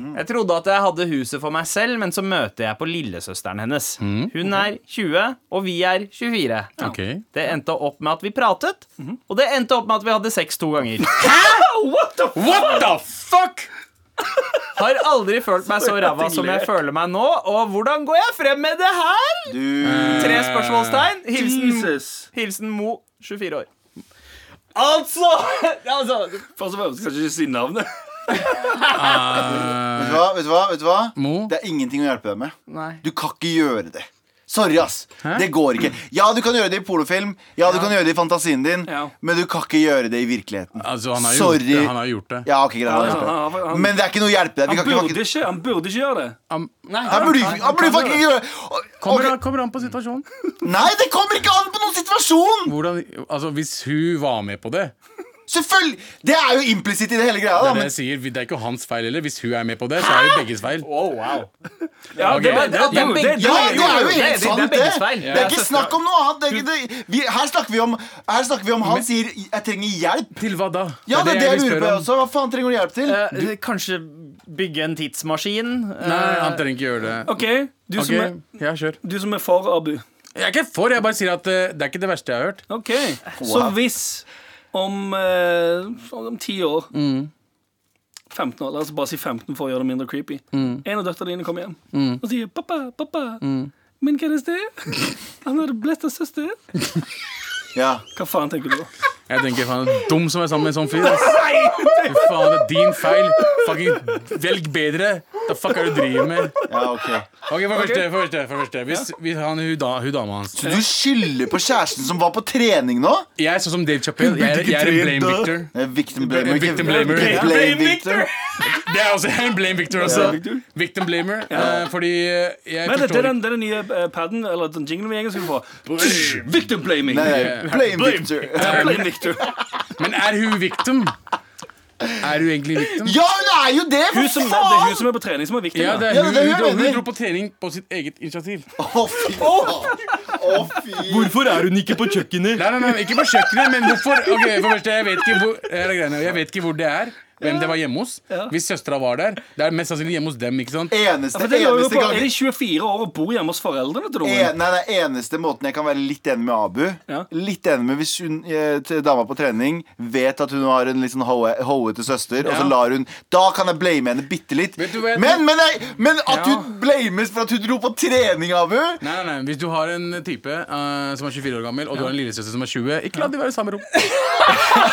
Jeg trodde at jeg hadde huset for meg selv, men så møter jeg på lillesøsteren hennes. Hun er 20, og vi er 24. Ok. Det endte opp med at vi pratet, og det endte opp med at vi hadde sex to ganger. What the fuck? What the fuck?! Har aldri følt meg så ræva som jeg føler meg nå. Og hvordan går jeg frem med det her? Du Tre spørsmålstegn. Hilsen, Jesus. hilsen Mo, 24 år. Altså, altså Først og fremst skal jeg ikke si navnet. Vet du hva? Vet du hva? Vet du hva? Eh, Mo? Det er ingenting å hjelpe deg med. Nei. Du kan ikke gjøre det. Sorry, ass. Det går ikke. Ja, du kan gjøre det i pornofilm, ja, du kan gjøre det i fantasien din, Ja. men du kan ikke gjøre det i virkeligheten. Altså, han har jo Sorry. gjort det. Han har jo gjort det. Ja, ok, greit. Han, har Ja, gjort det. han- han- han- men det er ikke noe å hjelpe deg. Vi Han kan ikke- burde ikke, han burde ikke gjøre det. Han- Han burde, han burde fucking ikke gjøre Kommer, Ok, an, kommer an på situasjonen. Nei, det kommer ikke an på noen situasjon! Hvordan, altså, hvis hun var med på det Selvfølgelig! Det er jo implisitt i det hele greia. Det Da, er det men jeg sier, det er ikke hans feil heller. Hvis hun er med på det, så er det begges feil. Ja, Ok. det, det, det, Ja, jo, det, ja, det er jo det- det- helt det er sant, det. begges feil. Det er ikke snakk om noe annet. Det er ikke, det, vi, her, snakker vi om, her snakker vi om han sier 'jeg trenger hjelp'. Til hva da? Ja, det er det jeg lurer på altså. vil spørre jeg om. også. Hva faen trenger du hjelp til? Eh, Kanskje bygge en tidsmaskin? Eh, Nei, han trenger ikke gjøre det. OK, du, Ok, Som er, ja, kjør. du som er for Abu. Jeg er ikke for, jeg bare sier at eh, det er ikke det verste jeg har hørt. OK. Så hvis om, eh, om ti år 15 år, La oss bare si 15 for å gjøre det mindre creepy. En av døtrene dine kommer hjem og sier 'pappa, pappa'. Min kjæreste, han har blitt av søster. Ja. Hva faen tenker du da? Jeg tenker faen, det er dum som er sammen med en sånn fyr. ass. Fy faen, det er din feil. Fucking velg bedre. The fuck er det du driver med? ja, ok Ok, For første, for første, for første. Hvis, hvis han, hun, da, hun dama hans Så du skylder på kjæresten som var på trening nå? Jeg er sånn som Dave Chappelle. Jeg, er- jeg er en blame victor. Eh, Victim blamer. ikke- Victim blamer. Blame Blame victor. Det er også jeg er en blame victor også. Victim blamer. eh, fordi eh, jeg Men det, det, forstår er den, det er den nye eh, padden, eller den jinglen vi egentlig skulle få. Victim blaming. Nei, blame victor. Ja, blame Victor. Men er hun victim? Er hun egentlig victim? Ja, hun er jo det! Hun For som, det er hun faen! som er på trening, som er viktig. Ja, det Ja, er hun, det er det jeg hun, dro- mener. hun dro på trening på sitt eget initiativ. Å, fy faen. Å, fy Hvorfor er hun ikke på kjøkkenet? Nei, nei, nei, ikke på kjøkkenet, men hvorfor? Ok, for det første, jeg vet ikke hvor, her er greiene. jeg vet ikke hvor det er, hvem det var hjemme hos. Hvis søstera var der. Det er mest sannsynlig hjemme hos dem. ikke sant? Eneste, Ja, for Altså, det lurer jeg eneste på, er gang de 24 år og bor hjemme hos foreldrene til en, noen? Nei, det er eneste måten jeg kan være litt enig med Abu Ja. Litt enig med hvis hun eh, til dama på trening vet at hun har en litt sånn hoe- hoete søster, og så lar hun Da kan jeg blame henne bitte litt. Vet du hva jeg- Men, men, jeg, men at Ja. hun blames for at hun dro på trening, Abu Nei, nei, nei, Hvis du har en type eh, som er 24 år gammel, og du har en lillesøster som er 20, ikke la de være i samme rom. Det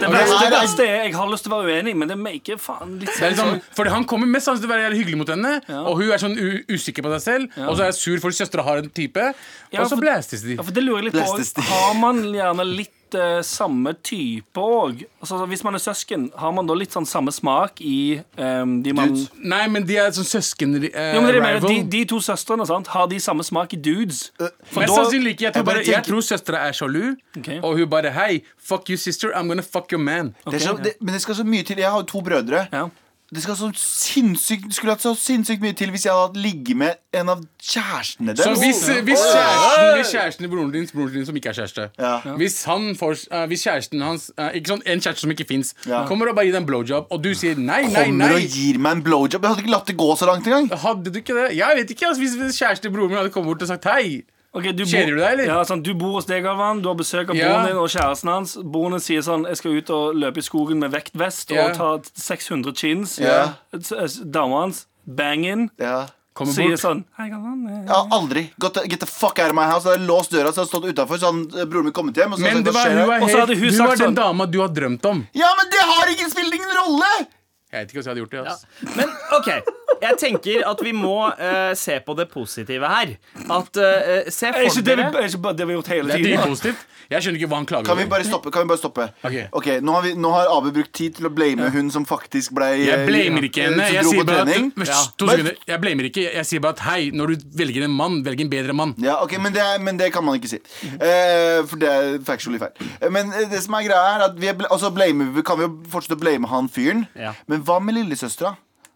Det verste, det verste er Jeg har lyst til å være uenig, men det maker faen litt er liksom, fordi Han kommer mest sannsynlig til å være jævlig hyggelig mot henne, og hun er sånn u usikker på seg selv, og så er hun sur fordi søstera har en type, Ja, og så for- blæstes de. Ja, for det lurer jeg litt Blæstes de. på. Har man gjerne litt eh, samme type òg? Altså, hvis man er søsken, har man da litt sånn samme smak i eh, de man Dudes. Nei, men de er sånn jo, men det er det jeg mener, søsken-rival. de, de to søstrene sant? har de samme smak i dudes. For Mest da, sannsynlig ikke. Jeg tror, Jeg bare bare, jeg tenker- tror søstera er sjalu, Ok. og hun bare Hei, fuck you, sister. I'm gonna fuck your man. det er så, det, Men det skal så mye til. Jeg har jo to brødre. Ja. Det skal så sinnssykt, skulle hatt så sinnssykt mye til hvis jeg hadde hatt ligget med en av kjærestene Så deres. hvis, hvis, kjæresten, hvis kjæresten til broren din, broren din som ikke er kjæreste Ja. hvis, han får, eh, hvis kjæresten hans eh, Ikke sånn en kjæreste som ikke fins, Ja. kommer og bare gir deg en blowjob, og du sier nei, nei, nei. Kommer og gir meg en blowjob. Jeg hadde ikke latt det gå så langt engang. Hadde du ikke det? Jeg vet ikke. Altså, hvis- hvis kjæresten til broren min hadde kommet bort og sagt hei Ok, du bor- Kjeder du deg, eller? Ja, sånn, du bor hos deg, Galvan. Du har besøk av Ja. broren din og kjæresten hans. Broren din sier sånn 'Jeg skal ut og løpe i skogen med vektvest Ja. og ta 600 chins'. Ja. S- s- Dama hans, bang in, Ja. Kommer sier bort sånn 'Hei, Galvan'. eh, Jeg har aldri gått Get the fuck out of my house. Jeg hadde låst døra, så jeg hadde stått utenfor så hadde eh, broren min kommet hjem. Og så Men hadde jeg det var, sagt, «Hva hun skjer her?» var, Og så helt, hadde hun du sagt var den sånn. dama du har drømt om. Ja, men det har ikke, spiller ingen rolle! Jeg vet ikke hvordan jeg hadde gjort det. Altså. Men OK, jeg tenker at vi må eh, se på det positive her. At eh, Se Er for ikke det vi, dere er ikke bare det vi har gjort hele Det er tiden? dritpositivt. Jeg skjønner ikke hva han klager Kan vi over. bare stoppe? Kan vi bare stoppe? Ok. nå, har vi, nå har Abu brukt tid til å blame hun som faktisk ble Jeg blamer ikke henne. eh, Jeg sier bare at, at Vent, to sekunder. Jeg blamer ikke. Jeg- Jeg sier bare at hei, når du velger en mann, velg en bedre mann. ja, ok, men det, er- men det kan man ikke si. Eh, for det er factually feil. Eh, Men eh, det som er greia er at vi er, bl- altså blamer, vi- kan vi jo fortsette å blame han fyren. Ja. Men hva med lillesøstera?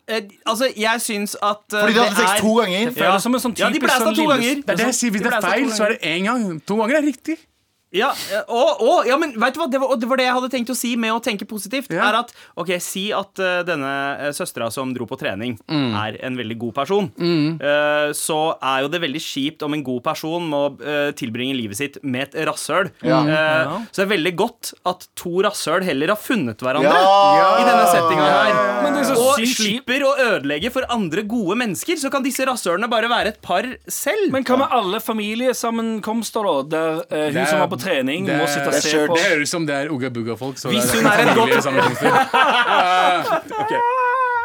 eh, Altså, jeg syns at eh, Fordi de hadde sex to ganger. Det føles som en sånn Ja, de typisk blæsta sånn to lille- ganger. Det er det jeg sier. Hvis det er feil, så er det én gang. To ganger er riktig. Ja, eh, og, og, ja men vet du hva? Det var, og det var det jeg hadde tenkt å si med å tenke positivt. Ja. Er at, ok, Si at eh, denne eh, søstera som dro på trening, Mm. er en veldig god person. Eh, så er jo det veldig kjipt om en god person må eh, tilbringe livet sitt med et rasshøl. Ja. Eh, Ja. Så det er veldig godt at to rasshøl heller har funnet hverandre Ja. i denne settinga her. Men det er så Og sykt kjipt. slipper å ødelegge for andre gode mennesker. Så kan disse rasshølene bare være et par selv. Men hva med alle familiesammenkomster, da? Der eh, hun Det er- som var på trening, det er- må sitte og det er se skjørt. på Det høres ut som det er Ugga Bugga-folk. så det Hvis er- hun er en godt- Sammenkomster. Eh, ok.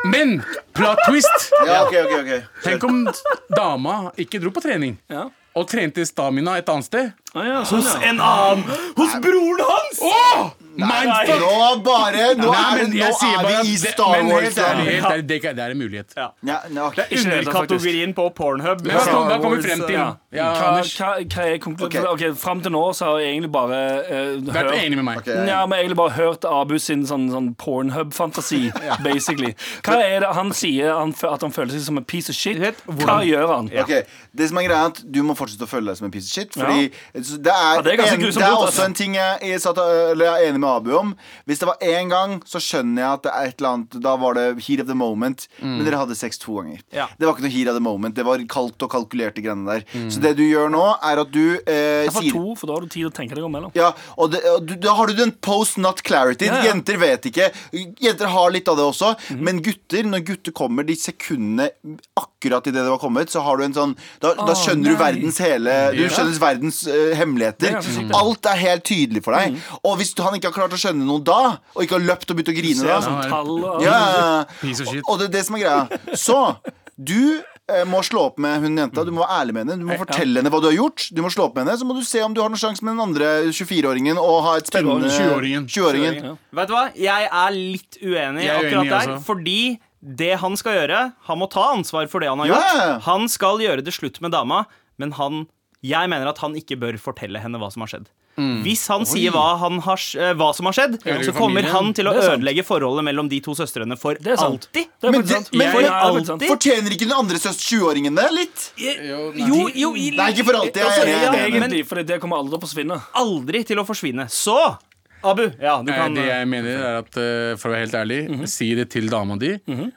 Men plot twist! Ja, ok, ok, ok Tenk om dama ikke dro på trening Ja. og trente stamina et annet sted. Ah, ja, sånn, ja. En annen! Hos broren hans! Åh! Mindfuck! Nå bare, nå Nei, er, men det- jeg nå sier er bare at vi i det- Star men helt ærlig, Wars-land helt ærlig, det, kan- det er en mulighet. Ja. ja, ja, ok. er Underkategorien på pornhub. Men hva kom- hva kommer vi Wars, frem til? ja. Ja, Hva, Anders. hva, hva er konklu- Ok. Ok, Fram til nå så har jeg egentlig bare eh, Vært hørt enig med meg. Ok, Ja, men jeg egentlig bare hørt Abu sin sånn, sånn pornhub-fantasi, basically. Hva er det han sier han, fø- at han føler seg som en piece of shit? Vet Hva gjør han? Ok, Det som er greia er at Du må fortsette å følge deg som en piece of shit. Fordi så det, er Ja, det er ganske en, grusomt det er gjort, altså. også en ting jeg, jeg, satt, og- eller jeg er enig med Abu om. Hvis det var én gang, så skjønner jeg at det er et eller annet Da var det heat of the moment. Mm. Men dere hadde sex to ganger. Ja. Det var ikke noe heat of the moment. Det var kaldt og kalkulerte greiene der. Så det du gjør nå, er at du eh, For sier Mm. to, for da har du tid å tenke deg om mellom. ja, og det, og du, Da har du den post not clarity. Ja, Mhm. ja. Jenter vet ikke. Jenter har litt av det også. Men gutter, når gutter kommer de sekundene akkurat idet det var kommet, så har du en sånn Da, da Å, skjønner du nei. verdens hele Du Ja. skjønner verdens eh, hemmeligheter. er ganske Mhm. sykt, det. Alt er helt tydelig for deg. Og hvis han ikke har klart å skjønne noe da, og ikke har løpt og begynt å grine da, han Sånn er- tall og ja, ja, ja. Piece of shit. Og, og det er det som er greia. Så du eh, må slå opp med hun jenta. Du må være ærlig med henne. Du må fortelle henne hva du har gjort. Du må slå opp med henne Så må du se om du har noen sjanse med den andre 24-åringen og ha et spennende 20-åringen. 20-åringen. Ja. Vet du hva? Jeg er litt uenig Jeg er akkurat uenig, der. altså. Fordi det han skal gjøre Han må ta ansvar for det han har Ja. gjort. Han skal gjøre det slutt med dama, men han jeg mener at han ikke bør fortelle henne hva som har skjedd. Mm. Hvis han sier hva, han har, s- eh, hva som har skjedd, Ødelegger så kommer familien. han til å Det er sant. ødelegge forholdet mellom de to søstrene for Det er sant. alltid. Det er Men det- faktisk sant. men Jeg- for jeg er faktisk sant. Fortjener ikke den andre søs 20-åringen det litt? Jo, nei. Jo, jo, i, Nei, ikke for alltid. Jeg Altså, er ja, enig. jeg er enig. Egentlig, for det kommer aldri til å forsvinne. aldri til å forsvinne. Så, Abu, ja, du Nei, kan Eh, Mhm. det jeg mener er at eh, For å være helt ærlig, si det til dama di,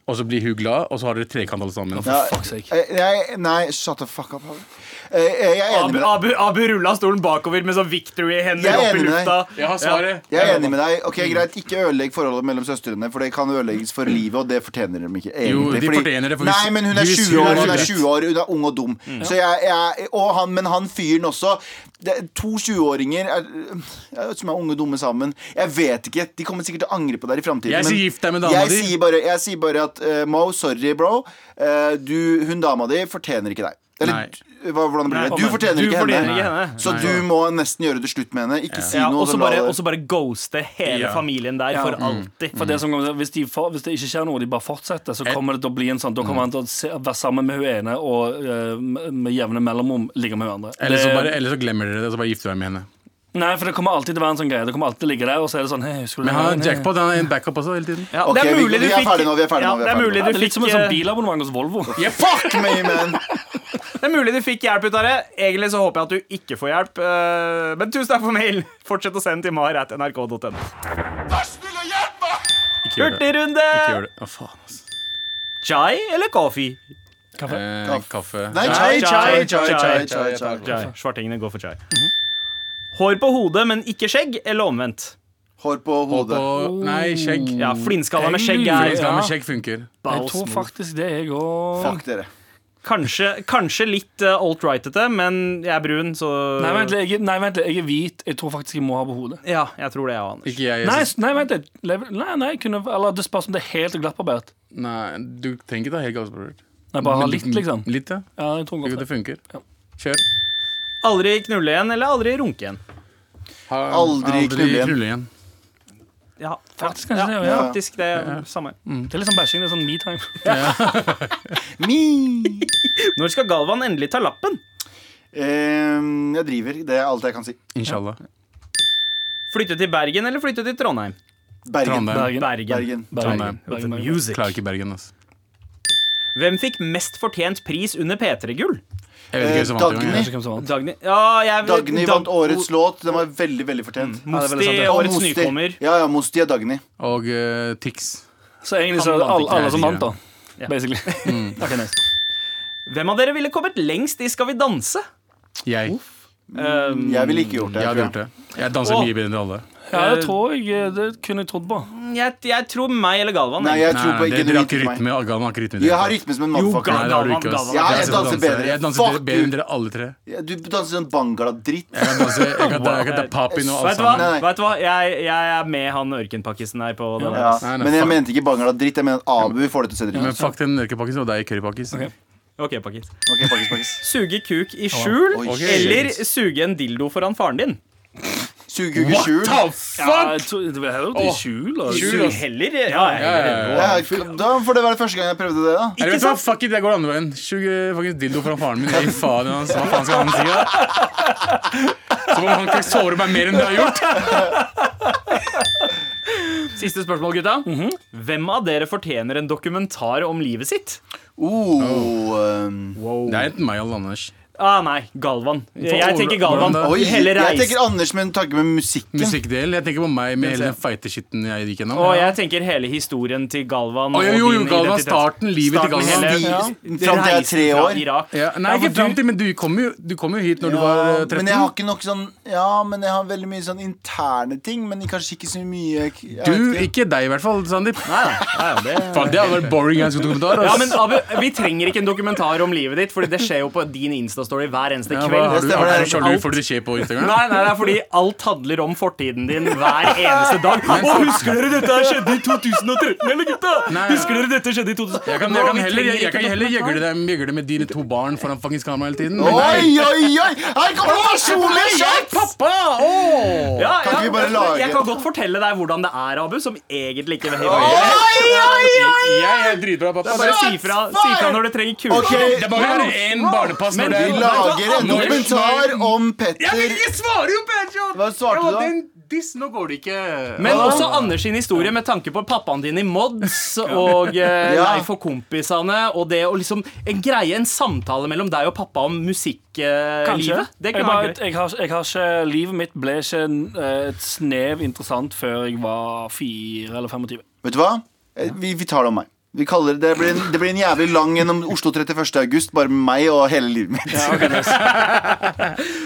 og så blir hun glad, og så har dere trekant alle sammen. Ja, fuck's sake. eh, jeg- Nei, shut the fuck up. Abu. Eh, Jeg er enig Abu, med deg. Abu, Abu rulla stolen bakover med sånn victory-hender Jeg er opp i enig med lufta. Jeg har svaret. Jeg er enig med deg. Ok, Mm. Greit, ikke ødelegg forholdet mellom søstrene, for det kan ødelegges for livet, og det fortjener de ikke. Egentlig, Jo, de fordi- fortjener det, for Nei, hvis- men hun er hvis 20 år, hun hun er, hadde- 20 år, hun er ung og dum. Mm. Så jeg, jeg, og han, men han fyren også. Det, er to 20-åringer er- som er unge og dumme sammen. Jeg vet ikke. De kommer sikkert til å angre på det her i framtiden. Jeg men sier gift deg med dama jeg di. Sier bare, jeg sier bare at eh, Mo, sorry, bro. Eh, du, hun dama di fortjener ikke deg. Eller Nei. hva, hvordan blir det? Du fortjener Du ikke fortjener henne. ikke henne. Så Nei. du må nesten gjøre det slutt med henne. Ikke si Ja, noe. og så så la bare, det- og så bare ghoste hele Ja. familien der for Mm. alltid. For det som kommer, til- hvis, de får, hvis det ikke skjer noe, og de bare fortsetter, så kommer det til å bli en sånn Da kommer han til å se, være sammen med hun ene og eh, med med jevne mellomrom ligge med hverandre. Eller så, Det- bare, eller så glemmer dere det, og så bare gifter dere med henne. Nei, for det kommer alltid til å være en sånn greie. Det kommer alltid til å ligge der, og så er det sånn hei, husker du Men det? han Nei, har nei. backup også hele tiden. Ja, Ok, det er vi- mulig vi du er fikk ferdig nå, vi er ferdig ja, nå, vi er det er ferdig nå. mulig Ja, du det er litt fikk, som en sånn eh, bilabonnement hos Volvo. Fuck me, man! det er mulig du fikk hjelp ut av det. Egentlig så håper jeg at du ikke får hjelp. eh, Men tusen takk for mail. Fortsett å sende til mar at nrk.no. Ikke gjør det. Hurtigrunde! Ikke gjør det. Å, faen, altså. Chai eller coffee? Eh, kaffe. Nei, chai, chai, chai, chai, chai, chai, chai. Chai. Svartingene går for chai. Mhm. Hår på hodet, men ikke skjegg, eller omvendt. Hår på hodet. Og, nei, skjegg. Ja, Mm. Flintskalla med skjegg Ja, er Skal med skjegg funker. Jeg tror faktisk det, jeg òg. Fuck dere. kanskje, kanskje litt eh, alt-rightete, men jeg er brun, så Nei, vent litt, jeg, er- nei, vent litt, jeg er hvit. Jeg tror faktisk jeg må ha på hodet. Ja, jeg tror det, jeg og Anders. Ikke jeg. jeg Nei, synes- s- nei, vent litt. Lev- Nei, nei, jeg kunne, eller det spørs om det er helt glattbarbert. nei, du trenger ikke ta helt gassbrød. Nei, bare ha litt, liksom. Litt, ja. Ja, jeg tror Jo, godt Det det. funker. Ja. Kjør. Aldri knulle igjen, eller aldri runke igjen. Ha- Aldri knulle igjen. knulle igjen. Ja, Faktisk kanskje det, ja. ja. Faktisk det samme. Det er litt sånn bæsjing. Det er sånn me-time. Me. Når skal Galvan endelig ta lappen? Ehm, jeg driver. Det er alt jeg kan si. Inshallah. Flytte til Bergen eller flytte til Trondheim? Bergen. Bergen. Trondheim. Bergen. Bergen. Trondheim. With the Bergen, Bergen. music. Klarer ikke Bergen, altså. Hvem fikk mest fortjent pris under P3-gull? Jeg vet ikke hvem som vant. Eh, Dagny. engang, jeg. Kanskje hvem som vant. Dagny ja, jeg, Dagny Dag- vant årets låt. Den var veldig veldig fortjent. Mm. Ja, det er veldig Mosti, sant, det. Og årets Mosti. nykommer. Ja, ja, Mosti er Dagny. Og eh, Tix. Så egentlig så Han er det vant alle, ikke, alle som jeg vant, Mm. da. Ja. Basically. Ok, nice. Hvem av dere ville kommet lengst i Skal vi danse? Jeg. Um, Jeg ville ikke gjort det. Jeg hadde tror jeg. gjort det. Jeg danser Åh. mye bedre enn alle. Ja, det tror jeg eh, Det kunne jeg trodd på. jeg, jeg tror meg eller Galvan. Nei, jeg tror på Nei, ikke dere du har ikke rytmer meg. rytme. Galvan har ikke rytme. i det Jeg har hele tatt. rytme som en Nei, motherfucker. det har du ikke, ass. Galvan, Galvan. Jeg Ja, jeg skal danser danse. bedre. Jeg danser Fuck bedre you. enn dere alle tre. Ja, Du danser sånn bangla-dritt. Jeg kan danse, jeg kan, jeg kan ta papin og Vet alt du hva? sammen. Nei, nei. Vet du hva? Jeg, jeg er med han ørkenpakkisen her på den. Ja. Nei, nei, Men jeg fuck. mente ikke bangla-dritt. Jeg mener at Abu får det til å se dritt Men ut. fuck den ørkepakkisen og deg, currypakkis. Ok, pakkis. Ok, faktisk, faktisk. Suge kuk i skjul Oi, eller shit. suge en dildo foran faren din. Suguge skjul. Ja, jeg tror, det var heller i skjul. da. Skjul, Suge ass. heller. Ja, Ja, jeg, ja, ja. Ja, k- Da får det være første gang jeg prøvde det, da. Eller vet du hva, fuck it, jeg går andre veien. Sug eh, fucking dildo foran faren min. Jeg gir faen i hans. Hva faen skal han si, da? Som om han kan såre meg mer enn det har gjort. Siste spørsmål, gutta. Hvem av dere fortjener en dokumentar om livet sitt? Oh, um, Det er enten meg eller Anders. Ah, nei, Galvan. Jeg tenker Galvan. Hvordan da? oi, Hele jeg tenker reisen. Anders med en tanke med musikken. Musikkdelen. Jeg tenker på meg med hele den feiteskitten jeg gikk gjennom. Og jeg tenker hele historien til Galvan. Å, jo, jo, og jo, din Galvan, identitet. starten, livet til Starten, Galvan. hele- Ja. reisen Fram til jeg er tre fra år. Irak. Ja, nei, Ja, for ikke fram du- til, men du kom jo, du kom jo hit når du var eh, Ja, 13. men jeg har ikke nok sånn Ja, men jeg har veldig mye sånn interne ting, men kanskje ikke så mye jeg Du, vet ikke deg i hvert fall, Sandeep. Nei, nei, nei, det Faen, det hadde vært boring ganske dokumentar. Ja, ass. men Abu, Vi trenger ikke en dokumentar om livet ditt, Fordi det skjer jo på din Insta-story hver eneste Ja, hva, kveld. har du, Det stemmer, har du, det. har du, får dere se på Instagram? Nei, nei, det er fordi alt handler om fortiden din hver eneste dag. Å, husker dere dette her skjedde i 2013, eller gutta? Nei. Husker dere dette skjedde i 2000? Jeg kan, Nå, jeg kan vi heller, jeg, trenger jeg kan ikke heller dokumentar. gjøgle dem- gjøgle med dine to barn foran fuckings kamera hele tiden. Oi, Men nei, oi, oi! Her kommer det personlig kjeft! pappa! Åh! Ja, Kan ikke ja, vi bare lage- Jeg kan godt fortelle deg hvordan det er, Abu, som egentlig ikke vil Jeg er dritbra, pappa. Bare si fra, si fra når du trenger kule. Ok, Det må være én barnepass når det Vi lager en Når- dokumentar om Petter. Jeg svarer jo, Pedro! Hva svarte du da? Diss, nå går det ikke. Men også Anders sin historie med tanke på pappaen din i Mods og eh, Ja. Leif og kompisene og det å liksom en greie, en samtale mellom deg og pappa om musikklivet. Eh, Kanskje. livet. det jeg, kunne bare, vært gøy. jeg, har, jeg har ikke, livet mitt ble ikke eh, et snev interessant før jeg var fire eller 25. Vet du hva? Eh, Vi, vi tar det om meg. Vi kaller det, det, blir en, det blir en jævlig lang gjennom Oslo 31. august, bare med meg og hele livet mitt.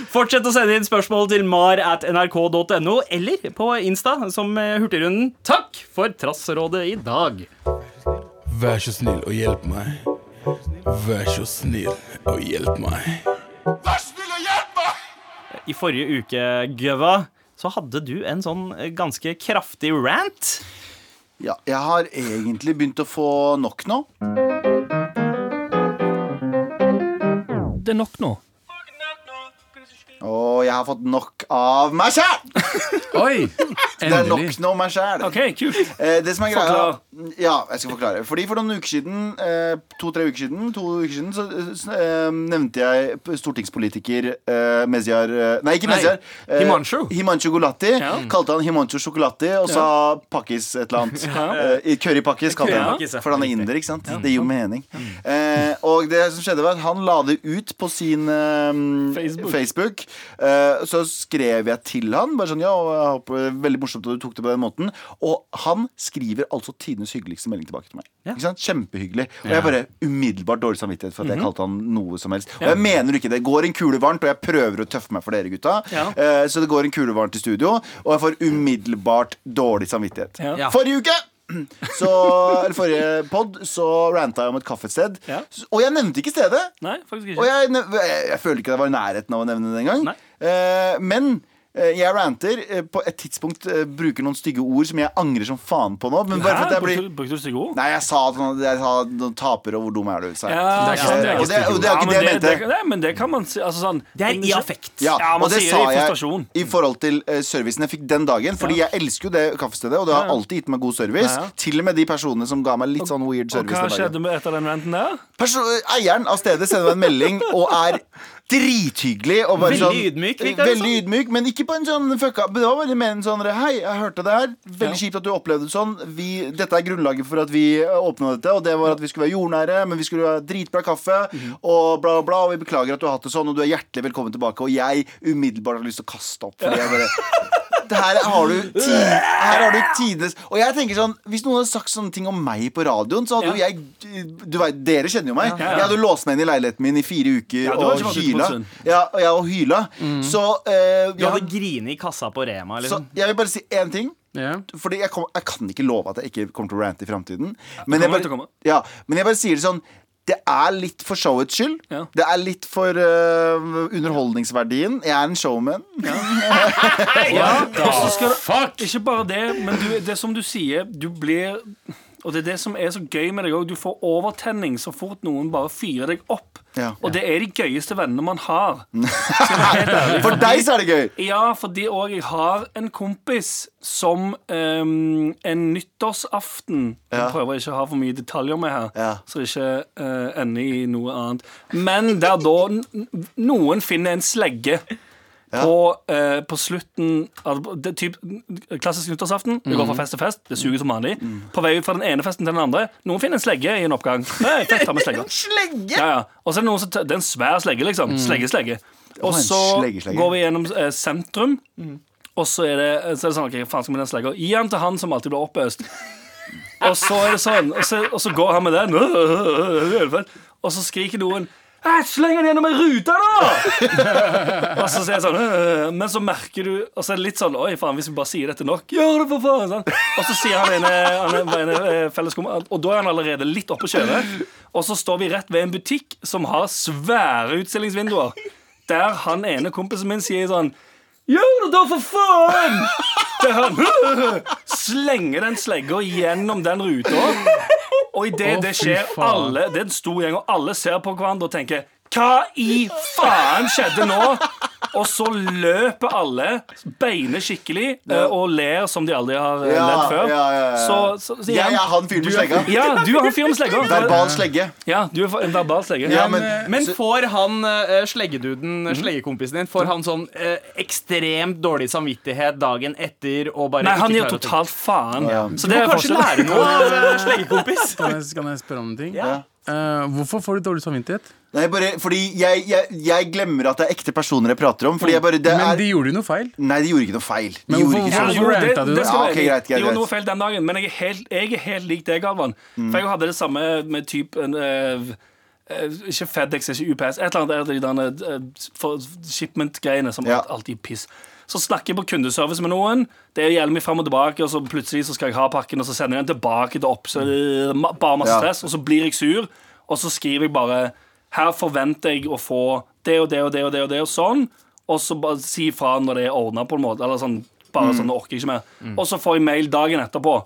Fortsett å sende inn spørsmål til mar at nrk.no eller på Insta som eh, Hurtigrunden. Takk for Trassrådet i dag. Vær så snill og hjelp meg. Vær så snill og hjelp meg. I forrige uke, Gøva, så hadde du en sånn eh, ganske kraftig rant. Ja, jeg har egentlig begynt å få nok nå. Det er nok nå. Og jeg har fått nok av meg sjæl! Oi! Det er nok Endelig. nå meg sjæl. OK, kult. Eh, det som er greia Ja, jeg skal forklare. Fordi For noen uker siden, eh, to-tre uker siden, to uker siden så eh, s- eh, nevnte jeg p- stortingspolitiker eh, Mezyar eh, Nei, ikke Nei, Mezyar. Eh, Himanshu. Himanshu Gulati. Ja. Kalte han Himanshu Sjokolati, og sa pakkis et eller annet. Eh, Currypakkis kalte Ja. jeg han. For han er inder, ikke sant? Det gir jo mening. Eh, og det som skjedde, var at han la det ut på sin eh, Facebook. Facebook. Eh, så skrev jeg til han. Bare sånn, ja, og jeg håper det er Veldig morsomt at du tok det på den måten. Og han skriver altså tidenes hyggeligste melding tilbake til meg. Ikke sant? Kjempehyggelig. Og jeg bare umiddelbart dårlig samvittighet for at Mhm. jeg kalte han noe som helst. Og jeg mener ikke det. Går en kule varmt, og jeg prøver å tøffe meg for dere, gutta. Ja. Eh, så det går en kule varmt i studio, og jeg får umiddelbart dårlig samvittighet. Ja. Ja. Forrige uke! Så, eller forrige pod så ranta jeg om et kaffested. Ja. S- Og jeg nevnte ikke stedet. Nei, faktisk Og ikke. jeg, nev- jeg, jeg føler ikke det var i nærheten av å nevne det engang. Nei. Eh, men eh, jeg ranter. eh, på et tidspunkt eh, bruker noen stygge ord som jeg angrer som faen på nå. Men bare for at Hæ? jeg blir Brukte du- Brukte du stygge ord? Nei, jeg sa at han- jeg sa noen taper, og hvor dum er du? sa jeg. Ja, altså, Eh, ja, ja. og det, og det er Ja, ikke det men jeg mente. det- Nei, men det kan man si. Altså, sånn, Det er i Ikke- affekt. Ja, Ja, man og det sier sa det i jeg frustrasjon. i forhold til eh, servicen jeg fikk den dagen. Fordi jeg elsker jo det kaffestedet, og det har alltid gitt meg god service. Ja, ja. Til og med de personene som ga meg litt sånn weird Og service. hva den dagen. skjedde med etter den ranten der? Perso- Eieren av stedet sender meg en melding og er drithyggelig. Og bare Veldig sånn, ydmyk, virker det veldig som. ydmyk, men ikke på en sånn fucka Det var bare mer en sånn Hei, jeg hørte det her. Veldig kjipt at du opplevde det sånn. Vi, dette er grunnlaget for at vi åpna dette, og det var at vi skulle være jordnære, men vi skulle ha dritbra kaffe, Mhm. og bla, bla, bla. Og vi beklager at du har hatt det sånn, og du er hjertelig velkommen tilbake. Og jeg umiddelbart har lyst til å kaste opp. Fordi jeg bare det her har du ti- Her har du tidenes Og jeg tenker sånn Hvis noen hadde sagt sånne ting om meg på radioen, så hadde jo Ja. jeg Du vet, Dere kjenner jo meg. ja, ja. Jeg hadde jo låst meg inn i leiligheten min i fire uker Ja, du har og ikke vært ute på en hyla. stund. Ja, og jeg og hyla. Mm. Så eh, Du jeg, hadde grinet i kassa på Rema. så Liksom. jeg vil bare si én ting. Ja. Fordi jeg, kom, jeg kan ikke love at jeg ikke kommer til å rante i framtiden. Men, jeg kommer til bare- å komme. ja, men jeg bare sier det sånn det er litt for showets skyld. Ja. Det er litt for øh, underholdningsverdien. Jeg er en showman. Ja, og så skal du, Fuck! ikke bare det, men du, det som du sier, du blir Og det er det som er så gøy med deg òg. Du får overtenning så fort noen bare fyrer deg opp. Ja. Og det er de gøyeste vennene man har. For deg så er det gøy! Ja, fordi òg jeg har en kompis som ehm, en nyttårsaften Jeg prøver ikke å ha for mye detaljer med her, Ja. så det ikke eh, ender i noe annet. Men der da n- n- noen finner en slegge på, eh, på slutten av det, er typ, Klassisk nyttårsaften. Du Mhm. går fra fest til fest, det suger som vanlig. På vei ut fra den ene festen til den andre. Noen finner en slegge i en oppgang. Nei, fett, ta med slegga. Ja, ja. Og så er det noen som tar- Det er en svær slegge, liksom. Slegge, slegge. Mhm. Å, Og en så slegge, Mhm. slegge. går vi gjennom eh, sentrum, og så er det, så er det sånn OK, faen skal vi med den slegga? Gi den til han som alltid blir oppøst. Og så er det sånn, og så, og så går han med den, og så skriker noen «Æ, Sleng den gjennom ei rute, da! og så sier jeg sånn «Øh», Men så merker du Og så er det litt sånn Oi, faen, hvis vi bare sier dette nok Gjør det, for faen! Sånn. Og så sier han ene, han ene, var ene eh, felleskom- Og da er han allerede litt oppe å kjøre. Og så står vi rett ved en butikk som har svære utstillingsvinduer, der han ene kompisen min sier sånn Gjør det, da, for faen! Der han slenger den slegga gjennom den ruta. Og idet Å, det fy skjer, faen. alle, det er en stor gjeng, og alle ser på hverandre og tenker Hva i faen skjedde nå? Og så løper alle, beiner skikkelig, eh, og ler som de aldri har eh, Ja, ledd før. ja, ja, ja. Så, så, så Jeg igjen- er han fyren med slegga. ja, du har en fyr med slegga. Verbal slegge. Ja, du er en verbal slegge. Ja, men Men får han eh, sleggeduden, Mm. sleggekompisen din, får han sånn eh, ekstremt dårlig samvittighet dagen etter og bare Nei, han ikke gir klarer å tenke? totalt faen. Ja. Så det er Kanskje forskjellen. lære noe av eh, sleggekompis? Kan jeg, kan jeg spørre om en ting? Ja. Eh, hvorfor får du dårlig samvittighet? Nei, bare fordi jeg, jeg, jeg glemmer at det er ekte personer jeg prater om. Fordi jeg bare, det Men er, de gjorde jo noe feil. Nei, de gjorde ikke noe feil. De Men gjorde hvorfor- ikke Ja, hvorfor- sånn. jo, det, rantet du det da? skal Ja, være ok, enig. greit, greit, Det var noe greit. feil den dagen, men jeg er helt, jeg er helt lik deg, Galvan. For jeg hadde det samme med typ en, eh, eh, Ikke Fedex, ikke UPS, et eller annet er det de der, eh, for- shipment-greiene som Ja. alt- alltid er piss. Så snakker jeg på kundeservice med noen, det er jævlig mye fram og tilbake, og så plutselig så skal jeg ha pakken, og så sender jeg den tilbake til opp, så det er ma- bare masse Ja. stress, og så blir jeg sur, og så skriver jeg bare Her forventer jeg å få det og det og det og det og det og sånn, og så bare si ifra når det er ordna, på en måte, eller sånn Mm. bare sånn, nå orker jeg ikke mer. Og så får jeg mail dagen etterpå